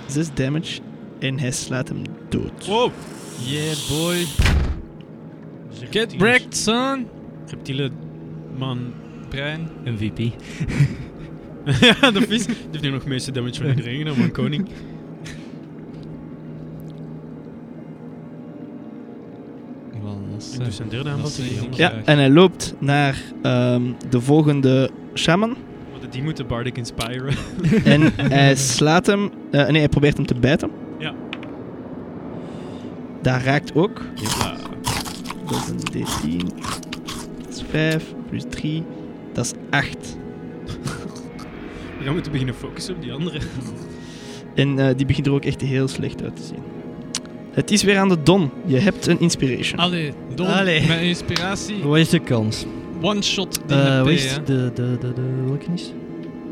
6 damage en hij slaat hem dood. Wow! Yeah, boy. Get Wrecked, son. Reptiele man. Brein. MVP. ja, de vis. Die heeft nu nog meeste damage van iedereen gedaan, maar koning. En dus zijn derde aanval Dat is eh, tegen die een- andere. Ja, en hij loopt naar ehm, de volgende shaman. Want die moeten Bardic inspiren. en hij slaat hem. eh, nee, hij probeert hem te bijten. Ja. Daar raakt ook. Dat is een D10. Dat is 5 plus 3. Dat is 8. We gaan moeten beginnen focussen op die andere. En eh, die begint er ook echt heel slecht uit te zien. Het is weer aan de Don. Je hebt een inspiration. Allee, Don, Allee. mijn inspiratie. Wat is de kans? One shot DHP, Eh wat is hè. de, de, de, de, welke is?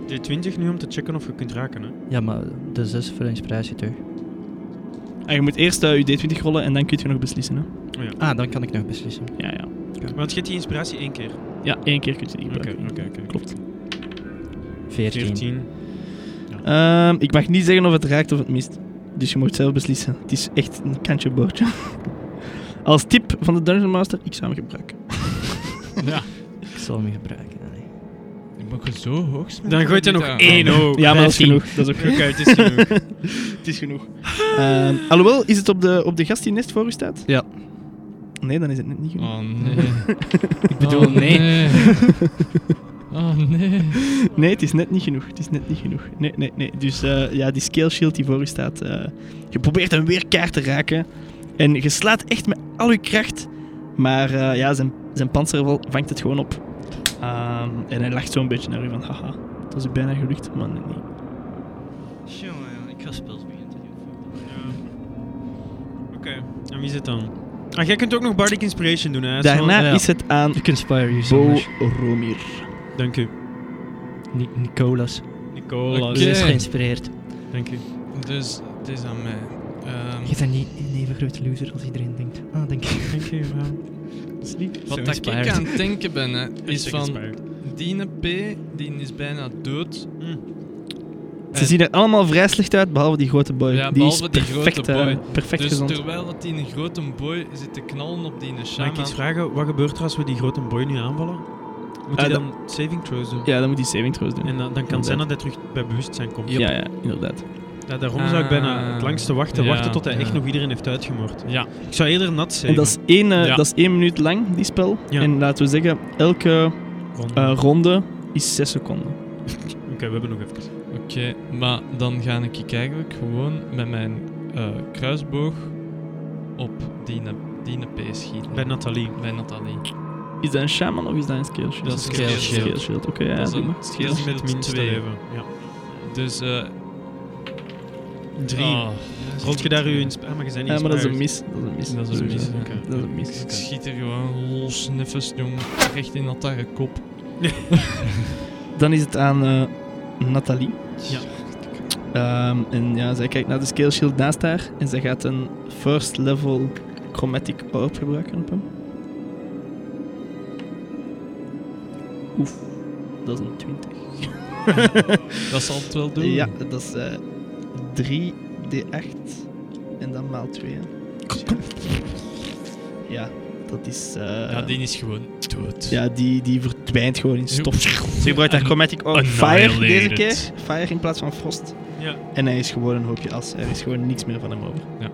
het? D20 nu om te checken of je kunt raken, hè? Ja, maar de 6 voor de inspiratie terug. En je moet eerst eh, je D20 rollen en dan kun je nog beslissen. Hè? Oh Ah, dan kan ik nog beslissen. Ja, ja. Want je hebt die inspiratie één keer. Oké, Ja, één keer kun je die gebruiken. oké. Klopt. 14. 14. Ehm, ik mag niet zeggen of het raakt of het mist. Dus je moet zelf beslissen. Het is echt een kantje boordje. Als tip van de Dungeon Master, ik zou hem gebruiken. Ja. Ik zal hem gebruiken. Ah, nee. Ik mag je zo hoog smijten. Dan gooit hij Niet nog aan. één ook. ja, maar dat is 15. genoeg. Dat is ook Oké, het is genoeg. Het is genoeg. Ehm, alhoewel, is het op de, op de gast die nest voor u staat? Ja. Nee, dan is het net niet genoeg. Oh nee. Ik bedoel, Oh, nee. Oh nee. Nee, het is net niet genoeg. Het is net niet genoeg. Nee, nee, nee. Dus eh, ja, die scale shield die voor u staat. eh, je probeert hem weer kaart te raken. En je slaat echt met al uw kracht. Maar eh, ja, zijn, zijn panzer wel- vangt het gewoon op. Ehm, en hij lacht zo'n beetje naar u van, haha, dat is u bijna gelukt, maar net niet. Jongen, ik ga spels beginnen te doen. Oké, en wie zit dan? Ah, jij kunt ook nog Bardic Inspiration doen, hè? Dat is Daarna ja. is het aan Ik inspire you so Bo much. Romir. wel- Dank u. Ni- Nicolas. Nicola. Ze is Oké. geïnspireerd. dus- Dank u. Dus het is aan mij. Ehm, Je bent niet een even grote loser als iedereen denkt. Ah, denk ik. Dank u, man. Sleep. wat dat inspired. ik aan het denken ben, hè, is Hashtag van inspired. die P, die is bijna dood. Ze zien er allemaal vrij slecht uit, behalve die grote boy. Ja, die is behalve die grote perfect, eh, boy. perfect dus gezond. terwijl dat die een grote boy zit te knallen op die Mag ik shaman, iets vragen? Wat gebeurt er als we die grote boy nu aanvallen? Moet Eh, hij dan saving throws doen? Ja, dan moet hij saving throws doen. En dan, dan kan het zijn dat hij terug bij bewustzijn komt. Ja, ja, inderdaad. Ja, daarom zou ik bijna het langste wachten. Ah, ja, wachten tot hij echt ja. nog iedereen heeft uitgemoord. Ja. Ik zou eerder nat zijn. En dat is, één, eh, Ja. dat is één minuut lang, die spel. Ja. En laten we zeggen, elke eh, ronde is 6 seconden. Oké, Ah, we hebben nog even. Oké, maar dan ga ik eigenlijk gewoon met mijn eh, kruisboog op die, die P schieten. Bij Nathalie. Bij Nathalie. Is dat een shaman of is dat een scale shield? Dat is een scale shield. Scale shield, oké. ja, Dat is doe een maar. scale Dat is met shield minste twee. leven. Ja. Dus eh Drie. oh. Rolt Dus je daar uw insp... Ah, maar je bent Ja, maar dat is een inspired. mis. Dat is een mis. Dat is een mis, Sowieso. oké. Dat is een mis. Ik schiet er gewoon los neffens, jong. Recht in dat haar kop. Dan is het aan eh, Nathalie. Ja. Ehm, en ja, zij kijkt naar de scale shield naast haar en zij gaat een first level chromatic orb gebruiken op hem. Oef, dat is een 20. Dat zal het wel doen. Ja, dat is eh 3, D8 en dan maal 2. Ja, dat is. eh, Ja, die is gewoon dood. ja, die, die verdwijnt gewoon in stof. Ze gebruikt haar An- Chromatic Orb Fire deze annihilated. keer. Fire in plaats van Frost. Ja. En hij is gewoon een hoopje as. Er is gewoon niks meer van hem over. Ja.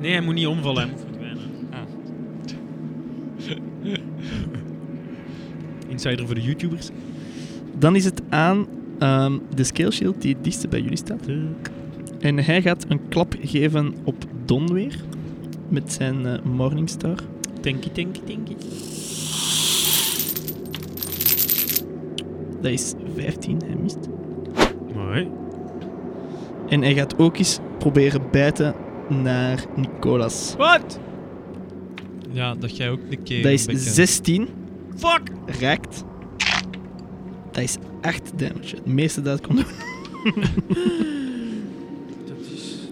Nee, hij moet niet omvallen. Ah. Hij moet verdwijnen. Insider voor de YouTubers. Dan is het aan ehm, de Scale Shield die het dichtste bij jullie staat. En hij gaat een klap geven op Don weer. Met zijn eh, Morningstar. Tanky, tanky, tanky. Dat is 15, hij mist. Mooi. En hij gaat ook eens proberen bijten naar Nicolas. Wat? Ja, dat jij ook een keer. Dat is een beetje- 16, Fuck! raakt. Dat is 8 damage. Het meeste dat het kon doen.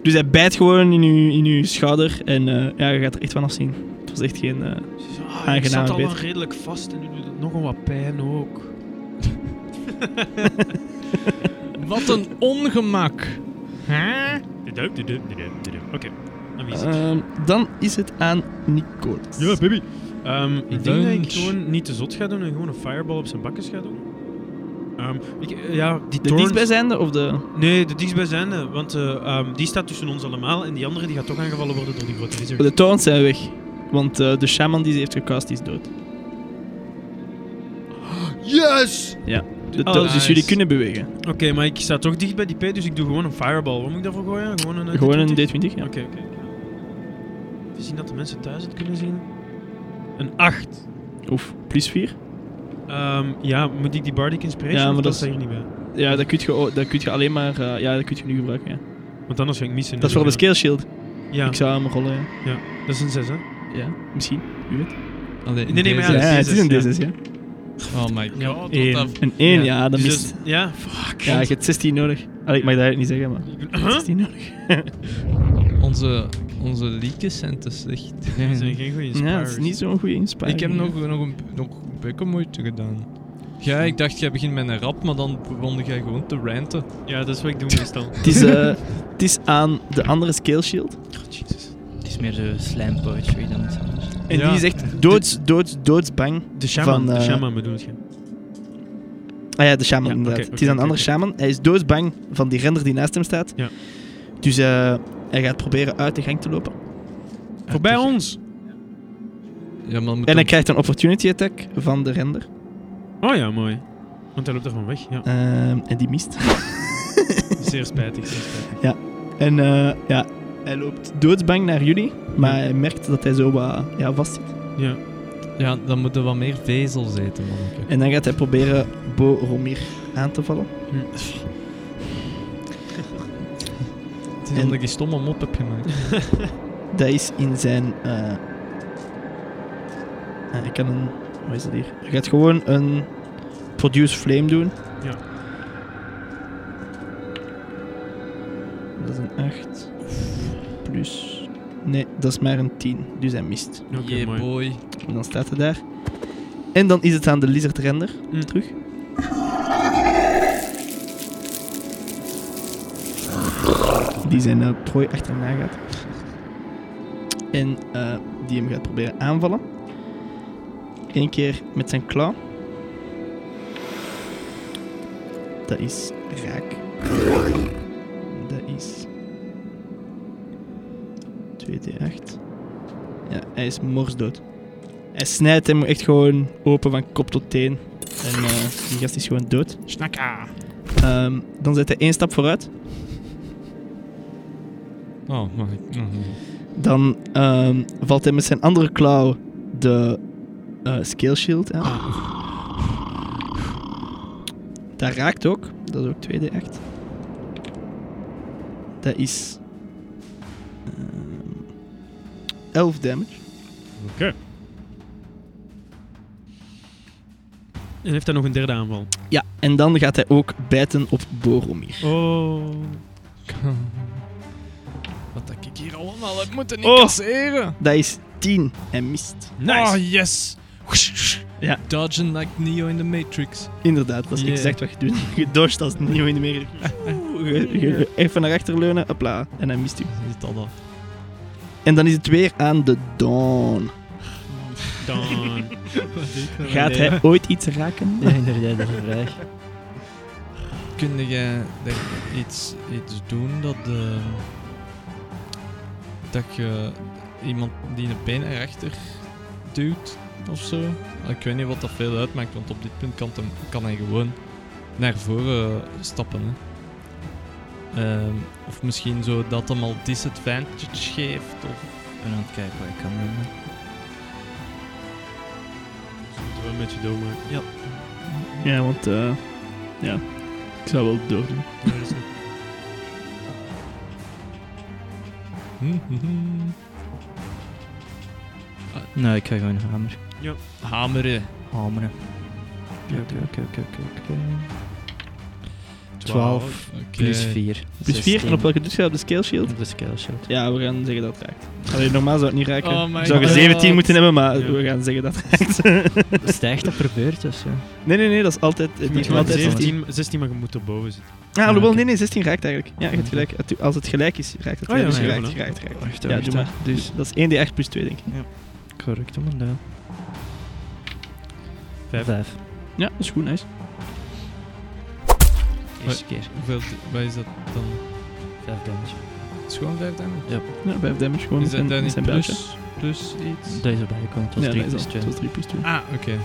Dus hij bijt gewoon in uw, in uw schouder en eh, ja, je gaat er echt van afzien. Het was echt geen... eh, Ah, ik Aangename zat al beet. lang redelijk vast en nu doet het nogal wat pijn ook. Wat een ongemak. Oké, dan wie is het? ehm, dan is het aan Nicolas. Ja, baby. Ehm, ik denk dat ik Lunch. gewoon niet te zot ga doen en gewoon een fireball op zijn bakjes ga doen. Ehm, ik, eh, ja, die De thorns... dichtstbijzijnde of de... Nee, de dichtstbijzijnde, want eh, ehm, die staat tussen ons allemaal en die andere die gaat toch aangevallen worden door die grote lizard. De torens zijn weg. Want eh, de shaman die ze heeft gecast is dood. Yes! De Oh, torens, Dus nice. jullie kunnen bewegen. Oké, maar ik sta toch dicht bij die P, dus ik doe gewoon een fireball. Wat moet ik daarvoor gooien? Gewoon een... eh, Gewoon een D20? D20, ja. Oké, oké. Even zien dat de mensen thuis het kunnen zien. Een 8. Oef, plus 4. Ehm, ja, moet ik die Bardic Inspiration? Ja, maar of dat dat staat hier niet bij. Ja, dat kun je, o- dat kun je alleen maar... eh, ja, dat kun je nu gebruiken, ja. Want anders ga ik missen. Dat is voor de scale shield. Ja, Ik zou hem rollen, ja. dat is een 6, hè? Ja, misschien. Wie weet. Allee, Nee, nee, maar ja, Ja, deze- het is een D6, D6, ja. Oh my god. wat één. dat- Een 1, ja, dan Dus mist. dat- ja, Ja, je hebt 16 nodig. Allee, ik mag dat eigenlijk niet zeggen, maar... Huh? 16 nodig. Onze, onze leakjes zijn te slecht. dat zijn geen goede Mhm. Ja, dat is inspires. niet zo'n goede inspiratie. Ik heb nog, nog een, nog een beetje moeite gedaan. Ja, ik dacht, jij begint met een rap, maar dan begon jij gewoon te ranten. Ja, dat is wat ik doe meestal. Het is, eh, het is aan de andere scale shield. Het is meer de slam poetry dan iets anders. En Ja. die is echt doods, doods, doodsbang. De shaman, Van, de eh, shaman bedoelt je. Ah ja, de shaman Ja, inderdaad. oké, het is aan de oké, andere shaman. Hij is doodsbang van die render die naast hem staat. Ja. Dus eh, hij gaat proberen uit de gang te lopen. Dus- Voorbij ons! Ja, maar dan En moet hij hem- krijgt een opportunity attack van de render. Oh ja, mooi. Want hij loopt er van weg, ja. Ehm, en die mist. Zeer spijtig, zeer spijtig. En eh, ja, hij loopt doodsbang naar jullie. Maar hij merkt dat hij zo wat ja, vast zit. Ja. ja, dan moeten we wat meer vezels eten, manneke. En dan gaat hij proberen Bo Romir aan te vallen. Het En- is omdat ik die stomme mop heb gemaakt. Dat is in zijn. eh, eh, ik kan een. Wat is dat hier? Hij gaat gewoon een Produce Flame doen. Ja. Dat is een 8. Plus. Nee, dat is maar een 10. Dus hij mist. Oké, yeah, mooi. boy. En dan staat hij daar. En dan is het aan de Lizard Render Mm. terug. Die zijn eh, prooi achterna gaat. En eh, die hem gaat proberen aanvallen. Eén keer met zijn klauw. Dat is raak. Dat is 2d8. Ja, hij is morsdood. Hij snijdt hem echt gewoon open van kop tot teen. En eh, die gast is gewoon dood. Snakka! Ehm, dan zet hij één stap vooruit. Oh, mag ik? Mhm. Dan ehm, valt hij met zijn andere klauw de eh, scale shield aan. Dat raakt ook. Dat is ook 2d8. Dat is... ehm, 11 damage. En heeft hij nog een derde aanval. Ja, en dan gaat hij ook bijten op Boromir. Oh. Wat dat ik hier allemaal heb moeten Oh. incasseren. Dat is 10. Hij mist. Nice. Oh, yes! Ja. Dodgen like Neo in the Matrix. Inderdaad, dat is Ja. exact wat je doet. Je dodgt als nieuw in de meer. Je- je- Even naar achter leunen, hopla, en hij mist u. Is het al af? En dan is het weer aan de dawn. Dan. Wat deed dat? Gaat hij ooit iets raken? Ja, inderdaad, dat is een vraag. Kun jij denk ik, iets, iets doen dat de... Dat je iemand die een been erachter duwt of zo? Ik weet niet wat dat veel uitmaakt, want op dit punt kan, hem, kan hij gewoon naar voren stappen. Hè. Ehm, of misschien zo dat hem al disadvantage geeft. Of Ik ben aan het kijken wat ik kan doen. Moeten we een beetje doormaken. Ja. Ja, want eh, ja, ik zou wel doordoen. dat is goed. Nou, ik ga gewoon hamer. hameren. Hameren. Oké, oké, oké, oké, oké. 12 Oké. plus 4. Plus 4, en op welke doet je op de scale shield? Op de scale shield. Ja, we gaan zeggen dat het raakt. Allee, normaal zou het niet raken. Oh my zou je god. 17 moeten hebben, maar Ja. we gaan zeggen dat het raakt. Stijgt dus, dat per beurt of zo? nee, nee, nee, dat is altijd... eh, Die Moet is je altijd 16. 16, 16, maar je moet erboven zitten. Ah, Ah, alhoewel, oké. nee, nee, 16 raakt eigenlijk. Ja, je hebt gelijk. Het- Als het gelijk is, raakt het. Oh ja, dus ja, je ja, raakt, voilà. je raakt, je raakt. Wacht, Ja, wacht, doe maar. Dus dat is 1d8 plus 2, denk ik. Correct, man. Ja. Vijf. Vijf. Ja, dat is goed, nice. Eerste keer. Hoeveel, wat is dat dan? Vijf damage. Het is gewoon 5 damage? Ja, 5 damage gewoon Is met dat dan zijn, niet zijn buitje. plus, plus iets? Dat is erbij gekomen. Het was ja, 3 dat is plus al. 2. Het was 3 plus 2. Ah, oké.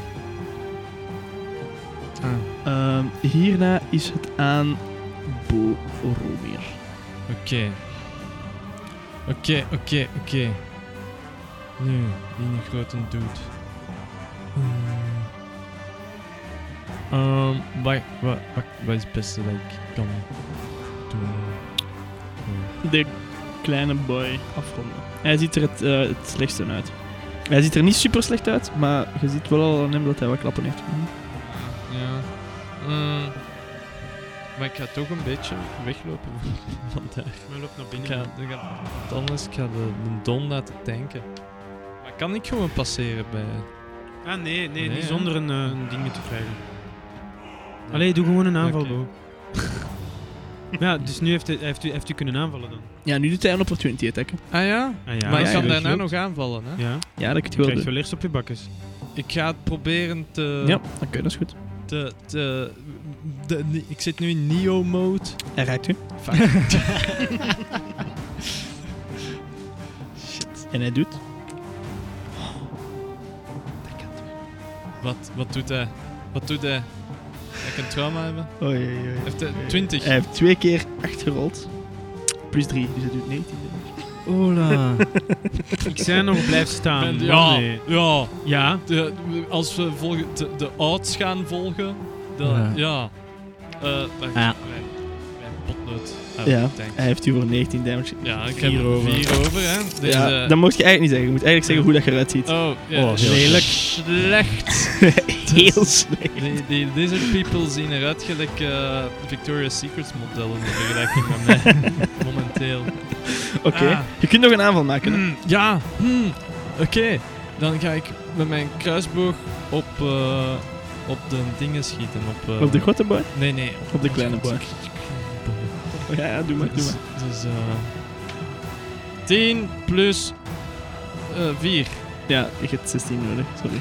Ah, oké. Ehm, hierna is het aan Boromir. Oké, oké, oké. Nu, die een grote dude. Hmm. Ehm, wat, wat, wat, wat is het beste dat ik kan doen? de kleine boy afronden. Hij ziet er het, eh, het slechtste uit. Hij ziet er niet super slecht uit, maar je ziet wel al aan hem dat hij wat klappen heeft. Ja. Hmm. Maar ik ga toch een beetje weglopen van daar. Maar loop naar Ik binnen. ga, ik ga, want anders ik ga de, de don laten tanken. Maar kan ik gewoon passeren bij... Ah nee, nee, Nee, niet hè? zonder een, eh, een ding te krijgen. Allee, doe gewoon een aanval, Oké. bro. ja, dus nu heeft hij, heeft, u, heeft u kunnen aanvallen Ah dan. Ja, nu doet hij een opportunity attack. hè. Ah ja? Ah, ja, maar ja, ik kan ja, daarna ja. nog aanvallen, hè? Ja, je Ja, dat kan je wel krijgt doen. wel eerst op je bakkes. Ik ga het proberen te... Ja, oké, dat is goed. Te, eh, te, de- ik zit nu in Neo-mode. Hij raakt u. En hij doet. Wat, wat doet hij? Wat doet hij? Heb ik een trauma hebben? Oei, oei, oei. Heeft eh, hij 20? Hij heeft twee keer 8 gerold. Plus 3, dus hij doet 19 damage. Ola. Ik zei nog, blijf staan. man, Ben- ja, nee. ja. ja. De, als we volgen, de, de ouds gaan volgen, dan... Ja. Ja. Eh wacht, Ja. Mijn, mijn potlood. Ah, Ja, Eh, tank. hij heeft u voor 19 damage. Ja, ik Vier heb er over. vier over, hè. Dus, ja, eh, dat mocht je eigenlijk niet zeggen. Je moet eigenlijk zeggen hoe dat je eruit ziet. Oh, ja. Oh, heel lelijk. Slecht. Dus- Heel slecht. Die, die lizard people zien eruit gelijk eh, Victoria's Secrets modellen in vergelijking met mij. Momenteel. Oké, Ah. je kunt nog een aanval maken. hè. Hmm, ja, hmm, oké. Dan ga ik met mijn kruisboog op, eh, op de dingen schieten. Op, eh, Op de grote boy? Nee, nee. Op de kleine boy. Ja, ja, doe maar, doe Dus, maar. dus eh 10 plus eh 4. Ja, ik heb 16 nodig, sorry.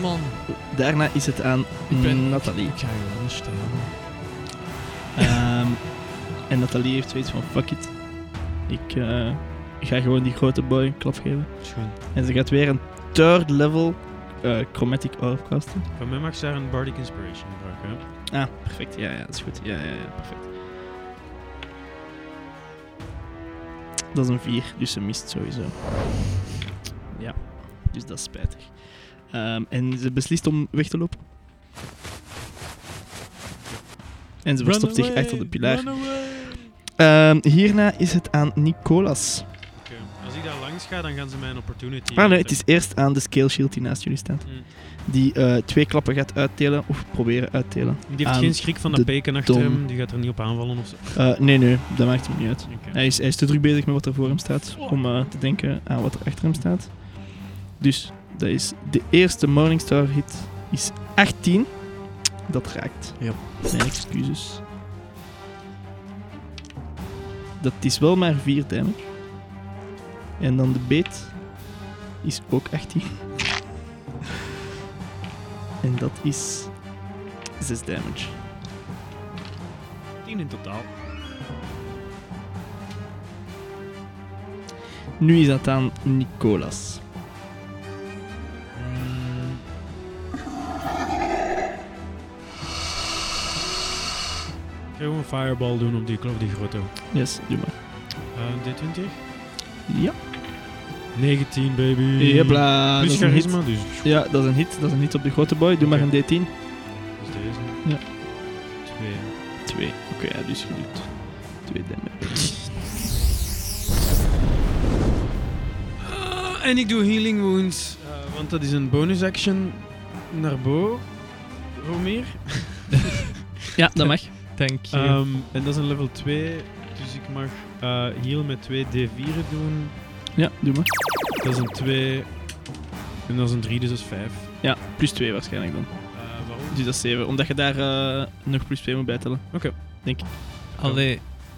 Man, Daarna is het aan Ik ben- Nathalie. ik ga gewoon stelen. Ehm, en Nathalie heeft zoiets van, fuck it. Ik eh, ik ga gewoon die grote boy een klap geven. En ze gaat weer een third level eh, chromatic orb casten. Van mij mag ze daar een bardic inspiration gebruiken. hè. Ah, perfect. Ja, ja, dat is goed. Ja, ja, ja, perfect. Dat is een 4, dus ze mist sowieso. Ja, dus dat is spijtig. Ehm, en ze beslist om weg te lopen. En ze verstopt zich achter de pilaar. Ehm, hierna is het aan Nicolas. Oké, Als ik daar langs ga, ga, dan gaan ze mij een opportunity. Ah nee, het geven. is eerst aan de scale shield die naast jullie staat. Mm. Die eh, twee klappen gaat uittelen of proberen uittelen. Die heeft aan geen schrik van de dat peken achter dom. hem. Die gaat er niet op aanvallen of zo. Eh, nee, nee, dat maakt hem niet uit. Oké. Hij is, hij is te druk bezig met wat er voor hem staat om eh, te denken aan wat er achter hem staat. Dus dat is de eerste Morningstar hit is 18. Dat raakt. Ja. Mijn excuses. Dat is wel maar 4 damage. En dan de beet is ook 18. En dat is 6 damage. 10 in Mm. totaal. Nu is dat aan Nicolas. Ik ga gewoon een fireball doen op die kloof, die grote. Yes, doe maar. Eh D20? Ja. 19, baby. Mm. Jebla, dat Plus is een hit. charisma, dus, Ja, dat is een hit. Dat is een hit op de grote boy. Doe maar een D10. dus deze. Ja. 2. Twee. Oké, ja, dus je doet twee damage. Eh, en ik doe healing wounds, eh, want dat is een bonus action naar Bo. Romeer. Ja, dat mag. Thank you. Eh, Ehm, en dat is een level 2, dus ik mag eh, heal met 2 D4'en doen. Ja, doe maar. Dat is een 2. En dat is een 3, dus dat is 5. Ja, plus twee waarschijnlijk dan. waarom? Dus dat is zeven. Omdat je daar eh, nog plus twee moet bijtellen. Allee, Weet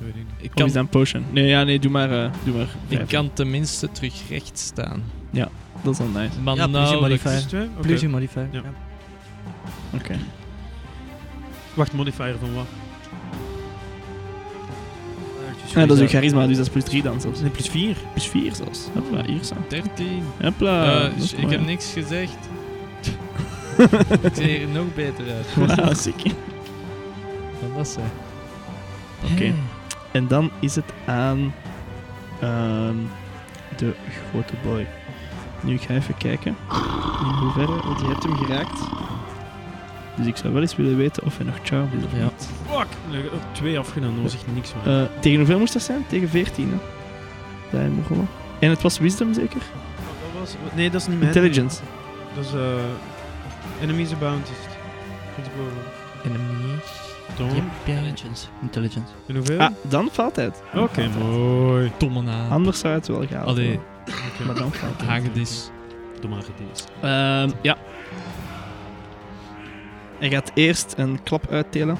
ik niet. ik Of kan, is dat een potion? Nee, ja, nee, doe maar, eh, doe maar ik vijf. kan tenminste terug recht staan. Dat is dan nice. Maar Ja, please, nauwelijks. modifier. Plus 2? Oké. Plus je modifier. Ja. Oké. Wacht, modifier van wat? Ja, dat is uw charisma, dus dat is plus drie dan zelfs. Nee, plus 4. Plus vier zelfs. Hopla, hier zo. 13. Hopla. Eh, Ah, dat is ik mooi. heb niks gezegd. Ik zie er nog beter uit. Wauw, sick. Dat eh, was ze. Oké. En dan is het aan ehm, de grote boy. Nu, ik ga even kijken in hoeverre, want je hebt hem geraakt. Dus ik zou wel eens willen weten of hij nog charmed is of Ja. niet. Fuck! Ik heb 2 afgedaan, dat was echt niks van. Eh, tegen hoeveel moest dat zijn? Tegen 14, hè? Dat hij mocht rollen. En het was wisdom, zeker? Oh, dat was, nee, dat is niet mijn. Intelligence. Dat is eh Enemies Abound. is het. Iets boven. Enemy. Tom. Intelligence. Intelligence. En hoeveel? Ah, dan valt hij het. Oké, mooi. Domme naam. Anders zou hij het wel gaan. Allee, Maar dan valt hij. hagedis. Doe maar deze. Ehm, ja. Hij gaat eerst een klap uitdelen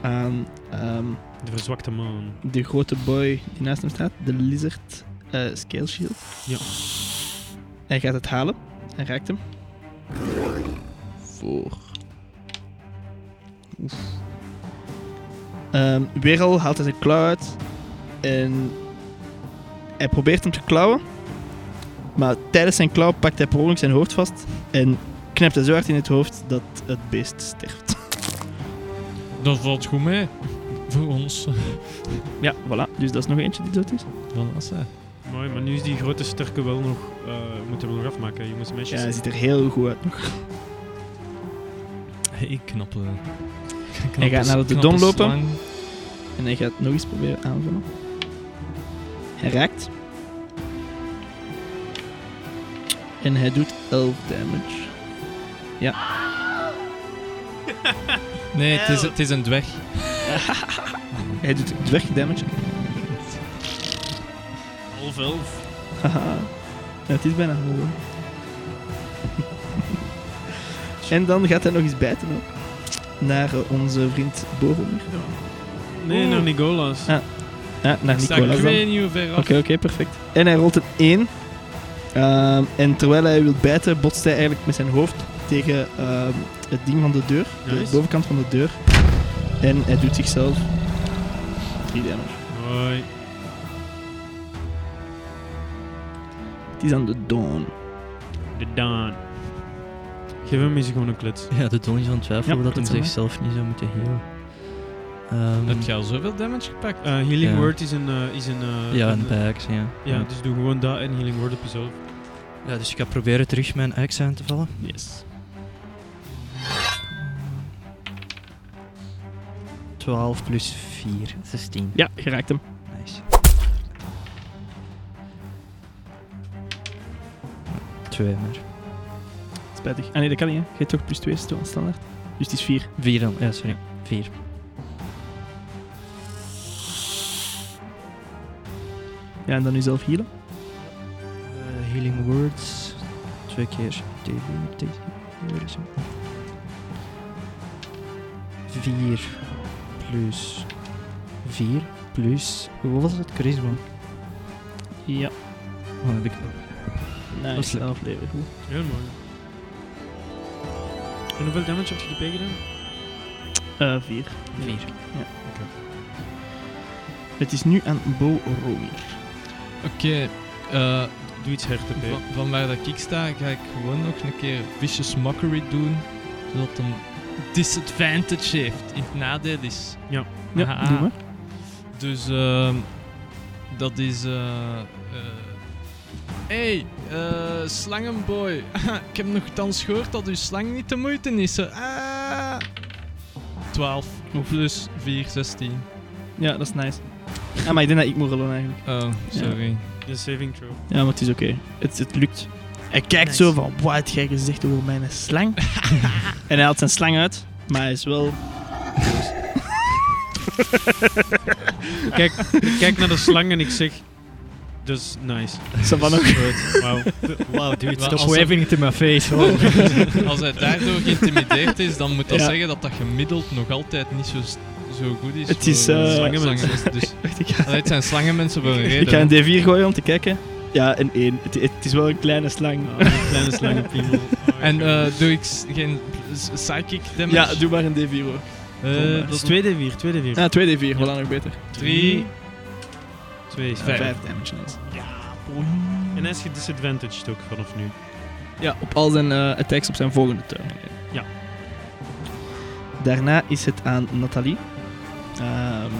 aan ehm, De verzwakte man. de grote boy die naast hem staat, de Lizard eh, Scale Shield. Ja. Hij gaat het halen. Hij raakt hem. Voor. Oef. Ehm, weer al haalt hij zijn klauw uit. En hij probeert hem te klauwen. Maar tijdens zijn klauw pakt hij per ongeluk zijn hoofd vast. En knipt hij zo hard in het hoofd dat het beest sterft. Dat valt goed mee. Voor ons. Ja, voilà. Dus dat is nog eentje die dood is. Wat was ze? Mooi, maar nu is die grote sterke wel nog. eh moeten we nog afmaken, hè, jongens en Ja, meisjes. hij ziet er heel goed uit. Ik knappel. Hij gaat naar de Knappe dom lopen. slang. En hij gaat nog eens proberen aanvallen. Hij raakt. En hij doet 11 damage. Nee, het is, het is een dwerg. Hij doet dwerg damage. half elf. Haha. Ja, het is bijna half. en dan gaat hij nog eens bijten ook. Naar eh, onze vriend Boromir. Nee, naar Nicolas. Ah. Ja, naar Sta ik Nicolas dan. weet niet hoe ver Oké, af. oké, perfect. En hij rolt een 1. Ehm, en terwijl hij wil bijten, botst hij eigenlijk met zijn hoofd tegen ehm, het ding van de deur. De Nice. bovenkant van de deur. En hij doet zichzelf 3 damage. Mooi. Het is aan de dawn. De Daan. Geef hem eens gewoon een klets. Ja, de toon is aan twijfel Ja, dat hij dat is zichzelf niet zou moeten healen. Ehm, Heb je al zoveel damage gepakt? Eh, healing Ja. Word is een. eh, is een eh, ja, een- een bij axe, ja. Ja, dus doe gewoon dat en Healing Word op jezelf. Ja, dus ik ga proberen terug mijn axe aan te vallen. Yes. 12 plus 4, 16. Ja, je raakt hem. Nice. 2, maar... Spijtig. Ah nee, dat kan niet, hè. Je hebt toch plus 2 stoel standaard. Dus het is 4. 4 dan, ja, sorry. 4. Ja, en dan jezelf healen. Eh, healing words. Twee keer. Tegen, tegen. Waar is hem? 4 plus 4 plus. Hoe was het? Charisma. Ja. Wat heb ik nog? Nee, Dat dat is is leuk. afleveren. Goed. Heel mooi. En hoeveel damage heb je die gedaan? Eh, 4. 4. Het is nu aan Bo Romier. Oké, eh, Doe iets hard, oké. van, van waar dat ik sta, ga ik gewoon nog een keer Vicious Mockery doen. Zodat hem disadvantage heeft, in het nadeel is. Ja. Ja, Aha. doe maar. Dus ehm, dat is. eh eh, hey, eh, slangenboy. ik heb nogthans gehoord dat uw slang niet te moeite is. hè. Ah. dus 12 plus 4, 16. Ja, dat is nice. Ah, maar ik denk dat ik moet rollen eigenlijk. Oh, sorry. De saving throw. Ja, maar het is oké. Het, het lukt. Hij kijkt Nice. zo van, wat heb jij gezegd over mijn slang? en hij haalt zijn slang uit, maar hij is wel... Kijk, ik kijk naar de slang en ik zeg... Dus nice. Savannah. Goed, Wauw. Wow, dude, Maar stop als dat- waving it in my face. wow. Oh. Als hij daardoor geïntimideerd is, dan moet dat Ja. zeggen dat dat gemiddeld nog altijd niet zo, s- zo goed is. Het is, voor, eh, eh, slangenmensen. Dus, Ik ga- Allee, het zijn slangenmensen voor een reden. ik ga een D4 gooien om te kijken. Ja, een 1. Het, het is wel een kleine slang. Oh, kleine slangenpiemel. Oh, En oké. eh, doe ik s- geen s- psychic damage? ja, doe maar een D4 hoor. Eh, Dat is dat 2d4, 2d4. Ja, 2 D4, wel nog beter. 3. 2 is Ja, vijf. vijf damage. nice. En hij is gedisadvantaged ook vanaf nu. Ja, op al zijn eh, attacks op zijn volgende turn. Ja. Daarna is het aan Nathalie. Ehm,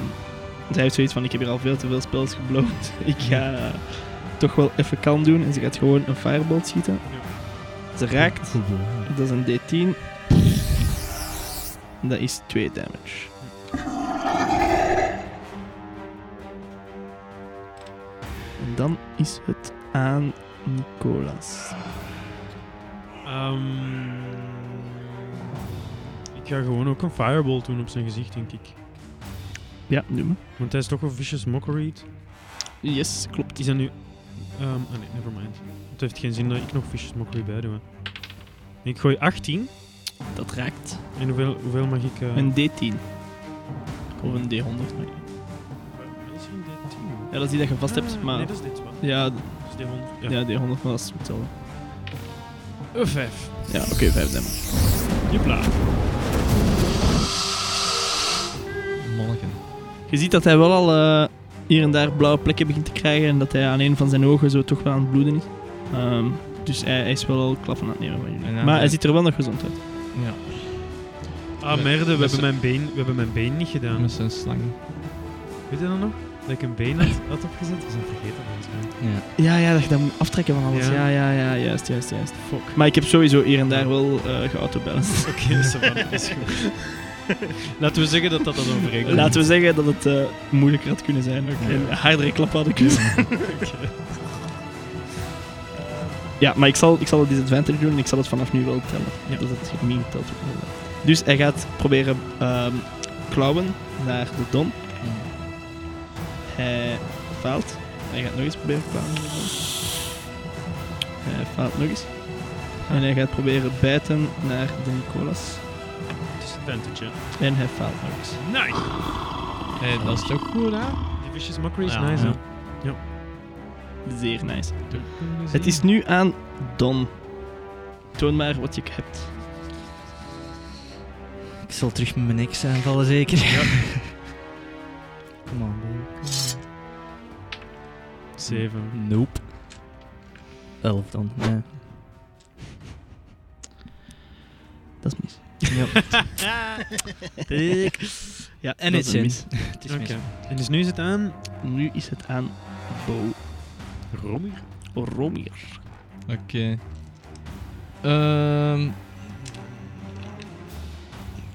zij heeft zoiets van, ik heb hier al veel te veel spels gebloot. ik ga eh, toch wel even kalm doen. En ze gaat gewoon een fireball schieten. Ze raakt. Dat is een D10. En dat is 2 damage. En dan is het aan Nicolas. Ehm, ik ga gewoon ook een fireball doen op zijn gezicht, denk ik. Ja, doe maar. Want hij is toch een vicious mockery. Yes, klopt. Is dat nu... Ehm ah nee, nevermind. Het heeft geen zin dat ik nog vicious mockery bij doe. hè. Ik gooi 18. Dat raakt. En hoeveel, hoeveel mag ik... eh Een D10. Of een D100. maar- Misschien D10. Ja, dat is die dat je vast hebt, Ah, maar... Nee, dat is dit wel. Ja, d- Dat is D100. ja. Eh, D100, maar dat is hetzelfde. Een 5. Ja, oké, 5 damage. Jepla. Monniken. Je ziet dat hij wel al eh, hier en daar blauwe plekken begint te krijgen en dat hij aan een van zijn ogen zo toch wel aan het bloeden is. Ehm, dus hij, hij is wel al klappen aan het nemen van jullie. En dan- maar hij ziet er wel nog gezond uit. Ja, Ah Met- merde, we met hebben, z'n- mijn been, we hebben mijn been niet gedaan. met zijn slang. Weet je dat nog? Dat ik een been had, had opgezet? Dat is een vergeten volgens mij. Ja. Ja, ja, dat je dat moet aftrekken van alles. Ja. Ja, ja, ja, juist, juist, juist. Fuck. Maar ik heb sowieso hier en daar wel eh geautobalanced. Oké, ça va, dat is goed. Laten we zeggen dat dat dan overeenkomt. Laten we zeggen dat het eh, moeilijker had kunnen zijn. En hardere klappen hadden kunnen zijn. Ja, maar ik zal, ik zal het disadvantage doen en ik zal het vanaf nu wel tellen. Dat het min telt. ook wel. Dus hij gaat proberen ehm, klauwen naar de Don. Hij faalt. Hij gaat nog eens proberen klauwen naar de Don. Hij faalt nog eens. En hij gaat proberen bijten naar de Nicolas. Disadvantage, hè. En hij faalt nog eens. Nice! Hé, dat is toch goed, hè? Die vicious mockery is Ja, nice, ja. hè. Zeer nice. Het is nu aan Don. Toon maar wat je hebt. Ik zal terug met mijn ex aanvallen, zeker. Come on, man. 7. Nope. 11 dan, ja. Dat is mis. Ja, En dat het is een zin. Het is Oké. mis. En dus nu is het aan... mis. Nu is het aan Bo Romier? Romier. Oké. Ehm,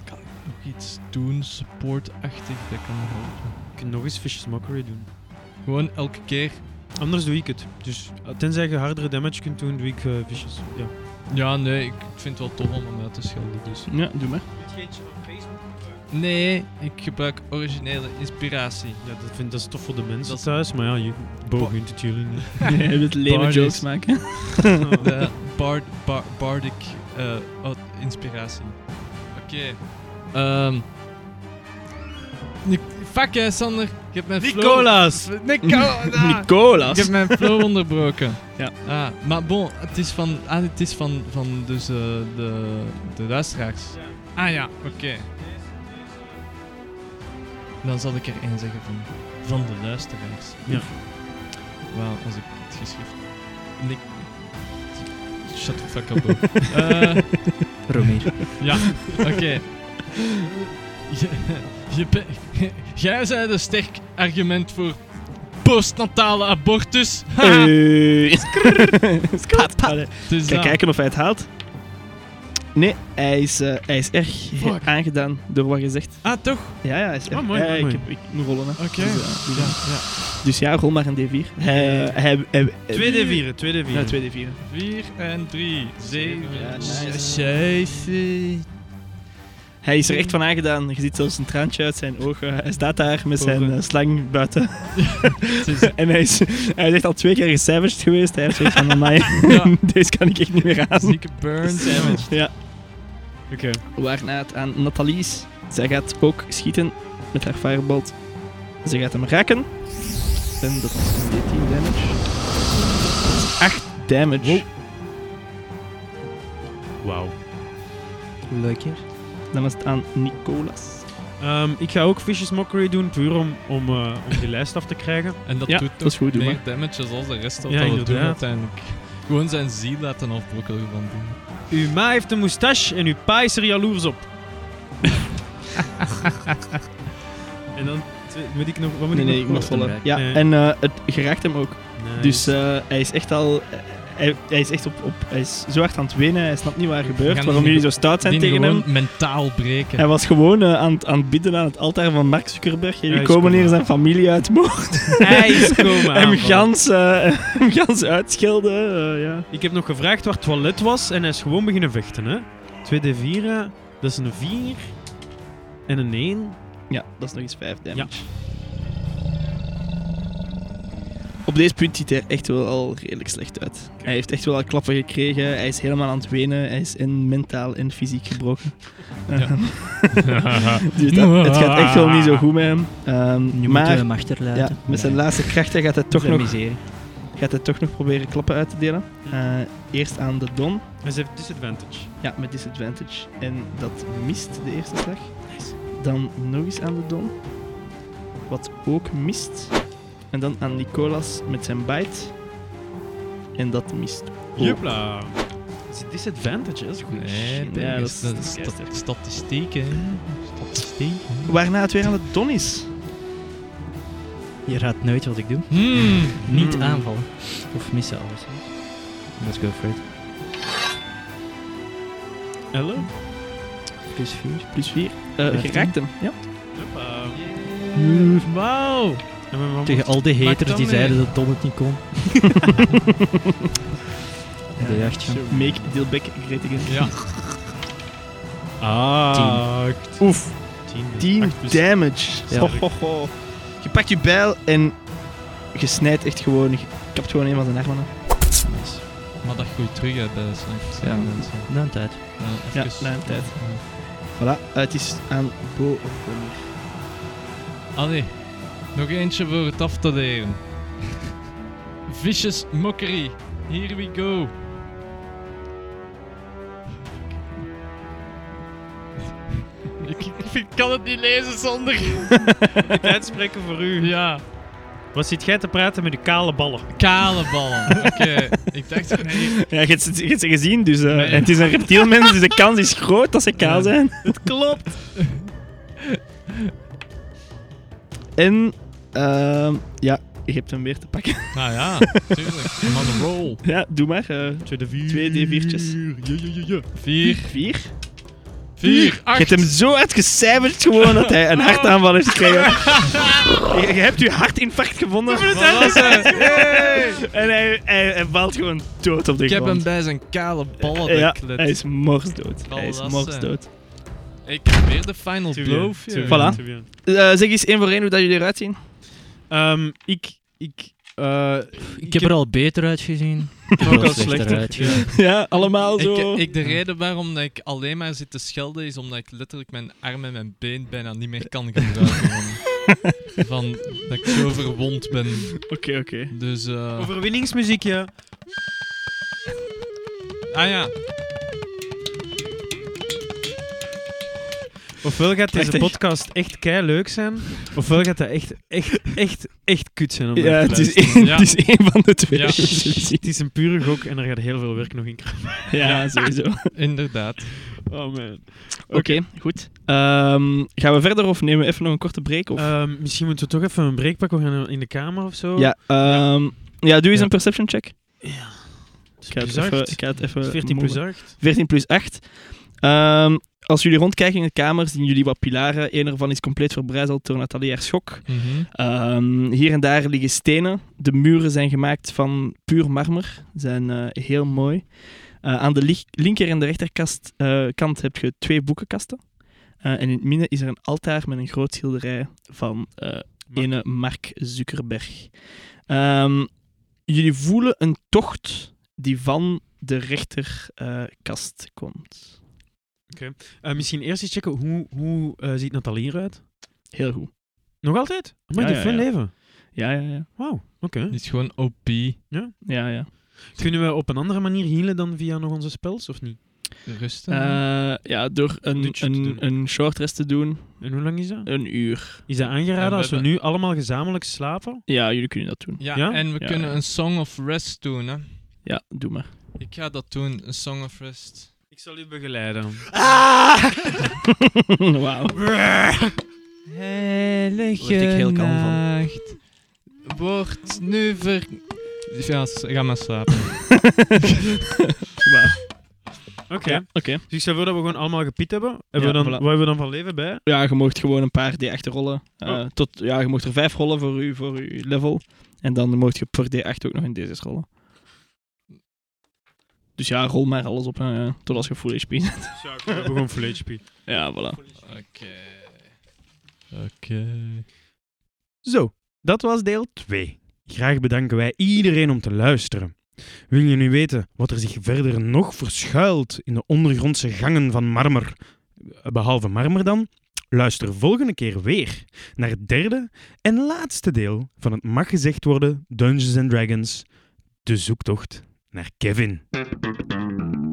Kan ik nog iets doen, supportachtig, dat kan helpen? Ik kan nog eens vicious mockery doen. Gewoon elke keer Anders doe ik het. Dus eh, tenzij je hardere damage kunt doen, doe ik eh, visjes. Ja. Ja, nee, ik vind het wel tof om hem uit te schelden, dus... Ja, doe maar. Nee, ik gebruik originele inspiratie. Ja, dat, vind, dat is tof voor de mensen Dat is- thuis, maar ja, je Bo gunt het jullie niet. Nee, je wilt lame Barney's. jokes maken. De bard, bar- bardic eh, oh, inspiratie. Oké. Ehm. Ni- fuck jij, Sander. Ik heb mijn flow... Nicolaas! Nicola! Ik Nicolas. heb mijn flow onderbroken. Ja. Ah, maar bon, het is van, ah, het is van, van dus, eh, de, de luisteraars. Ah ja, oké. Dan zal ik er één zeggen van, van de luisteraars. Ja. Wauw, als ik het geschrift... Nick... Shut the fuck up, bro. Eh, Romeer. ja, oké. Je- je be- Jij zei een sterk argument voor postnatale abortus. Haha. Hey. Pat, pat. Dus Kijk, dat. kijken of hij het haalt. Nee, hij is, eh, hij is erg Fuck. aangedaan door wat je zegt. Ah, toch? Ja, ja, hij is erg. Oh, mooi, Ja, mooi, ik, mooi. heb, ik moet rollen. Hè. Oké. Dus, eh, doe Ja, dat. ja. dus ja, rol maar een D4. Hij, hij, hij, 2D4, 2D4. Ja, 2D4. 4 en 3. 7. Ja, nice. 7. Hij is er echt van aangedaan. Je ziet zelfs een traantje uit zijn ogen. Hij staat daar met zijn Ogen. eh, slang buiten. en hij is, hij is echt al twee keer gecijferd geweest. Hij heeft zoiets van, mij. Ja. deze kan ik echt niet meer aan. Zieke burn damage. Ja. Oké. Waarna het aan Nathalie is. Zij gaat ook schieten met haar firebolt. Ze gaat hem raken. En dat is 13 damage. Dat is 8 damage. Wauw. Leuker. Dan is het aan Nicolas. Ehm, ik ga ook Vicious Mockery doen, puur om, om, eh, om die lijst af te krijgen. En dat Ja, doet dat is goed, doe meer damage dan de rest wat Ja, we doen inderdaad. uiteindelijk. Gewoon zijn ziel laten afbrokkelen van doen. Uw ma heeft een moustache en uw pa is er jaloers op. en dan twee- moet ik nog... Wat moet Nee, ik nee, nog ik mag rollen? vallen. Ja, Nee. en eh, het geraakt hem ook. Nice. Dus eh, hij is echt al. Hij, hij is echt op, op. Hij is zo hard aan het wenen. Hij snapt niet waar We gebeurt. gaan Waarom die- jullie zo stout zijn Die tegen gewoon hem. mentaal breken. Hij was gewoon eh, aan, het- aan het bidden aan het altaar van Mark Zuckerberg. Jullie is komen cool, hier man. zijn familie uitmoord. Hij is komen Ah, hem, aanvallen. gans, eh, hem gans uitschelden. eh, ja. Ik heb nog gevraagd waar het toilet was en hij is gewoon beginnen vechten, hè. 2D4, eh, dat is een 4 en een 1. ja, dat is nog eens 5 damage. Op deze punt ziet hij er echt wel al redelijk slecht uit. Hij heeft echt wel al klappen gekregen. Hij is helemaal aan het wenen. Hij is en mentaal en fysiek gebroken. Dus dat- het gaat echt wel niet zo goed met hem. Ehm, Nu maar moeten we hem achterlaten. Ja, met zijn laatste krachten gaat hij toch, Zijn nog, miserie. gaat hij toch nog proberen klappen uit te delen. Eh, eerst aan de Don, Hij heeft disadvantage. ja, met disadvantage. En dat mist de eerste slag. Dan nog eens aan de Don, wat ook mist. En dan aan Nicolas met zijn bite. En dat mist. Jupla. Dat is een disadvantage, hè. dat is goed. Nee, Ja, dat dat is is- dat dat is is stat- statistiek, hè. Statistiek. Waarna het weer aan de Don is. Je raadt nooit wat ik doe. Hmm. Niet Hmm. aanvallen. Of missen alles. hè. Let's go for it. 11? Plus 4. Plus 4. Vijftien. Eh, geraakt hem. Ja. Jupla. Wauw. En we- we Tegen al die Maak haters dan die mee. zeiden dat Don het niet kon. de jacht gaan. Make Dilbeck great again. Ja. Ah, Oef. 10. 10 damage. Ja. Ho, ho, ho. Je pakt je bijl en je snijdt echt gewoon. Je kapt gewoon een van zijn armen af. Nice. Maar dat groeit terug uit bij slecht. Ja. Na een tijd. Ja, na een tijd. Voilà, eh, het is aan Bo of Bonnie. Allee, nog eentje voor het af te leren. Vicious mockery, here we go. ik, ik- ik kan het niet lezen zonder. Het uitspreken voor u. Ja, Wat zit jij te praten met de kale ballen? kale ballen. Oké, ik dacht, nee, Ja, je hebt ze- je hebt ze gezien, dus. eh, Nee. en het is een reptielmens, dus de kans is groot dat ze kaal Ja. zijn. Het klopt. en, ehm, ja, je hebt hem weer te pakken. nou ja, tuurlijk. I'm on a roll. Ja, doe maar. eh, Twee de vier. Twee D4'tjes. Ja, ja, ja, ja. 4, vier. Vier, Je hebt hem zo uitgecijferd gewoon dat hij een hartaanval heeft gekregen. je, je hebt je hartinfarct gevonden. en hij, hij, hij valt gewoon dood op de Ik heb hem grond. bij zijn kale ballen ja, beklet. hij is morsdood. Hij is Ballassen. morsdood. Ik heb weer de final blow. Te Voilà. te veel. Eh, zeg eens één voor één hoe dat jullie eruit zien. Ehm, ik... Ik, eh, Ik heb er al beter uitgezien. ik ook wel al slechter slechter. uitgezien. Ja. ja, allemaal zo. Ik, ik, de reden waarom dat ik alleen maar zit te schelden is omdat ik letterlijk mijn arm en mijn been bijna niet meer kan gebruiken. Van, van dat ik zo verwond ben. Oké, oké. Dus, eh, Overwinningsmuziekje. ah ja, Ofwel gaat deze Prachtig. podcast echt kei leuk zijn, ofwel gaat dat echt, echt, echt, echt kut zijn om Ja, naar te het is, luisteren. één, Ja. het is één van de twee. Ja. Het is een pure gok en er gaat heel veel werk nog in komen. Ja, sowieso. Oké, inderdaad. Oh man. goed. Ehm, gaan we verder of nemen we even nog een korte break? Eh, Of? Ehm, misschien moeten we toch even een break pakken. We gaan in de kamer of zo. ja, ehm, ja, doe eens Ja. een perception check. Het is Ik ga het plus even, acht. ik ga het even Het is 14 mogen. plus 8. 14 plus 8. Ehm, als jullie rondkijken in de kamer, zien jullie wat pilaren. Eén ervan is compleet verbrijzeld door Nathalie haar schok. Mhm. Ehm, hier en daar liggen stenen. De muren zijn gemaakt van puur marmer. Zijn eh, heel mooi. Eh, aan de lig- linker- en de rechterkant kant heb je twee boekenkasten. Eh, en in het midden is er een altaar met een groot schilderij van eh ene Mark Zuckerberg. Ehm, jullie voelen een tocht die van de rechterkast komt. Eh, misschien eerst eens checken, hoe, hoe eh, ziet Nathalie eruit? Heel goed. Nog altijd? Maar Ja, die ja, heeft veel ja. leven. Ja, ja, ja. Wauw, oké. Die is gewoon OP. ja, ja. Kunnen we op een andere manier healen dan via nog onze spells, of niet? Rusten. Eh, ja, door een, Dutch te een, doen. een short rest te doen, En hoe lang is dat? een uur. Is dat Ja, aangeraden we als we hebben- nu allemaal gezamenlijk slapen? Ja, jullie kunnen dat doen. ja, ja? en we Ja. kunnen een Song of Rest doen, hè. Ja, doe maar. Ik ga dat doen, een Song of Rest. Ik zal u begeleiden. Wauw. Heilige Word ik heel kalm van. nacht. Wordt nu ver... Ja, s- ga maar slapen. Wauw. Oké. Ja, Oké. Dus ik stel voor dat we gewoon allemaal gepiet hebben. hebben we dan, Ja, voilà. Wat hebben we dan van leven bij? Ja, je mocht gewoon een paar D8 rollen. Eh, Oh. tot, ja, je mocht er vijf rollen voor je voor uw level. En dan mocht je per D8 ook nog een D6 rollen. Dus ja, rol maar alles op. hè, ja. tot als je full HP bent. Ja, we hebben gewoon full HP. ja, voilà. Oké. Oké. Zo. Dat was deel 2. Graag bedanken wij iedereen om te luisteren. Wil je nu weten wat er zich verder nog verschuilt in de ondergrondse gangen van marmer? Behalve marmer dan? Luister volgende keer weer naar het derde en laatste deel van het mag gezegd worden Dungeons and Dragons: De zoektocht naar Kevin.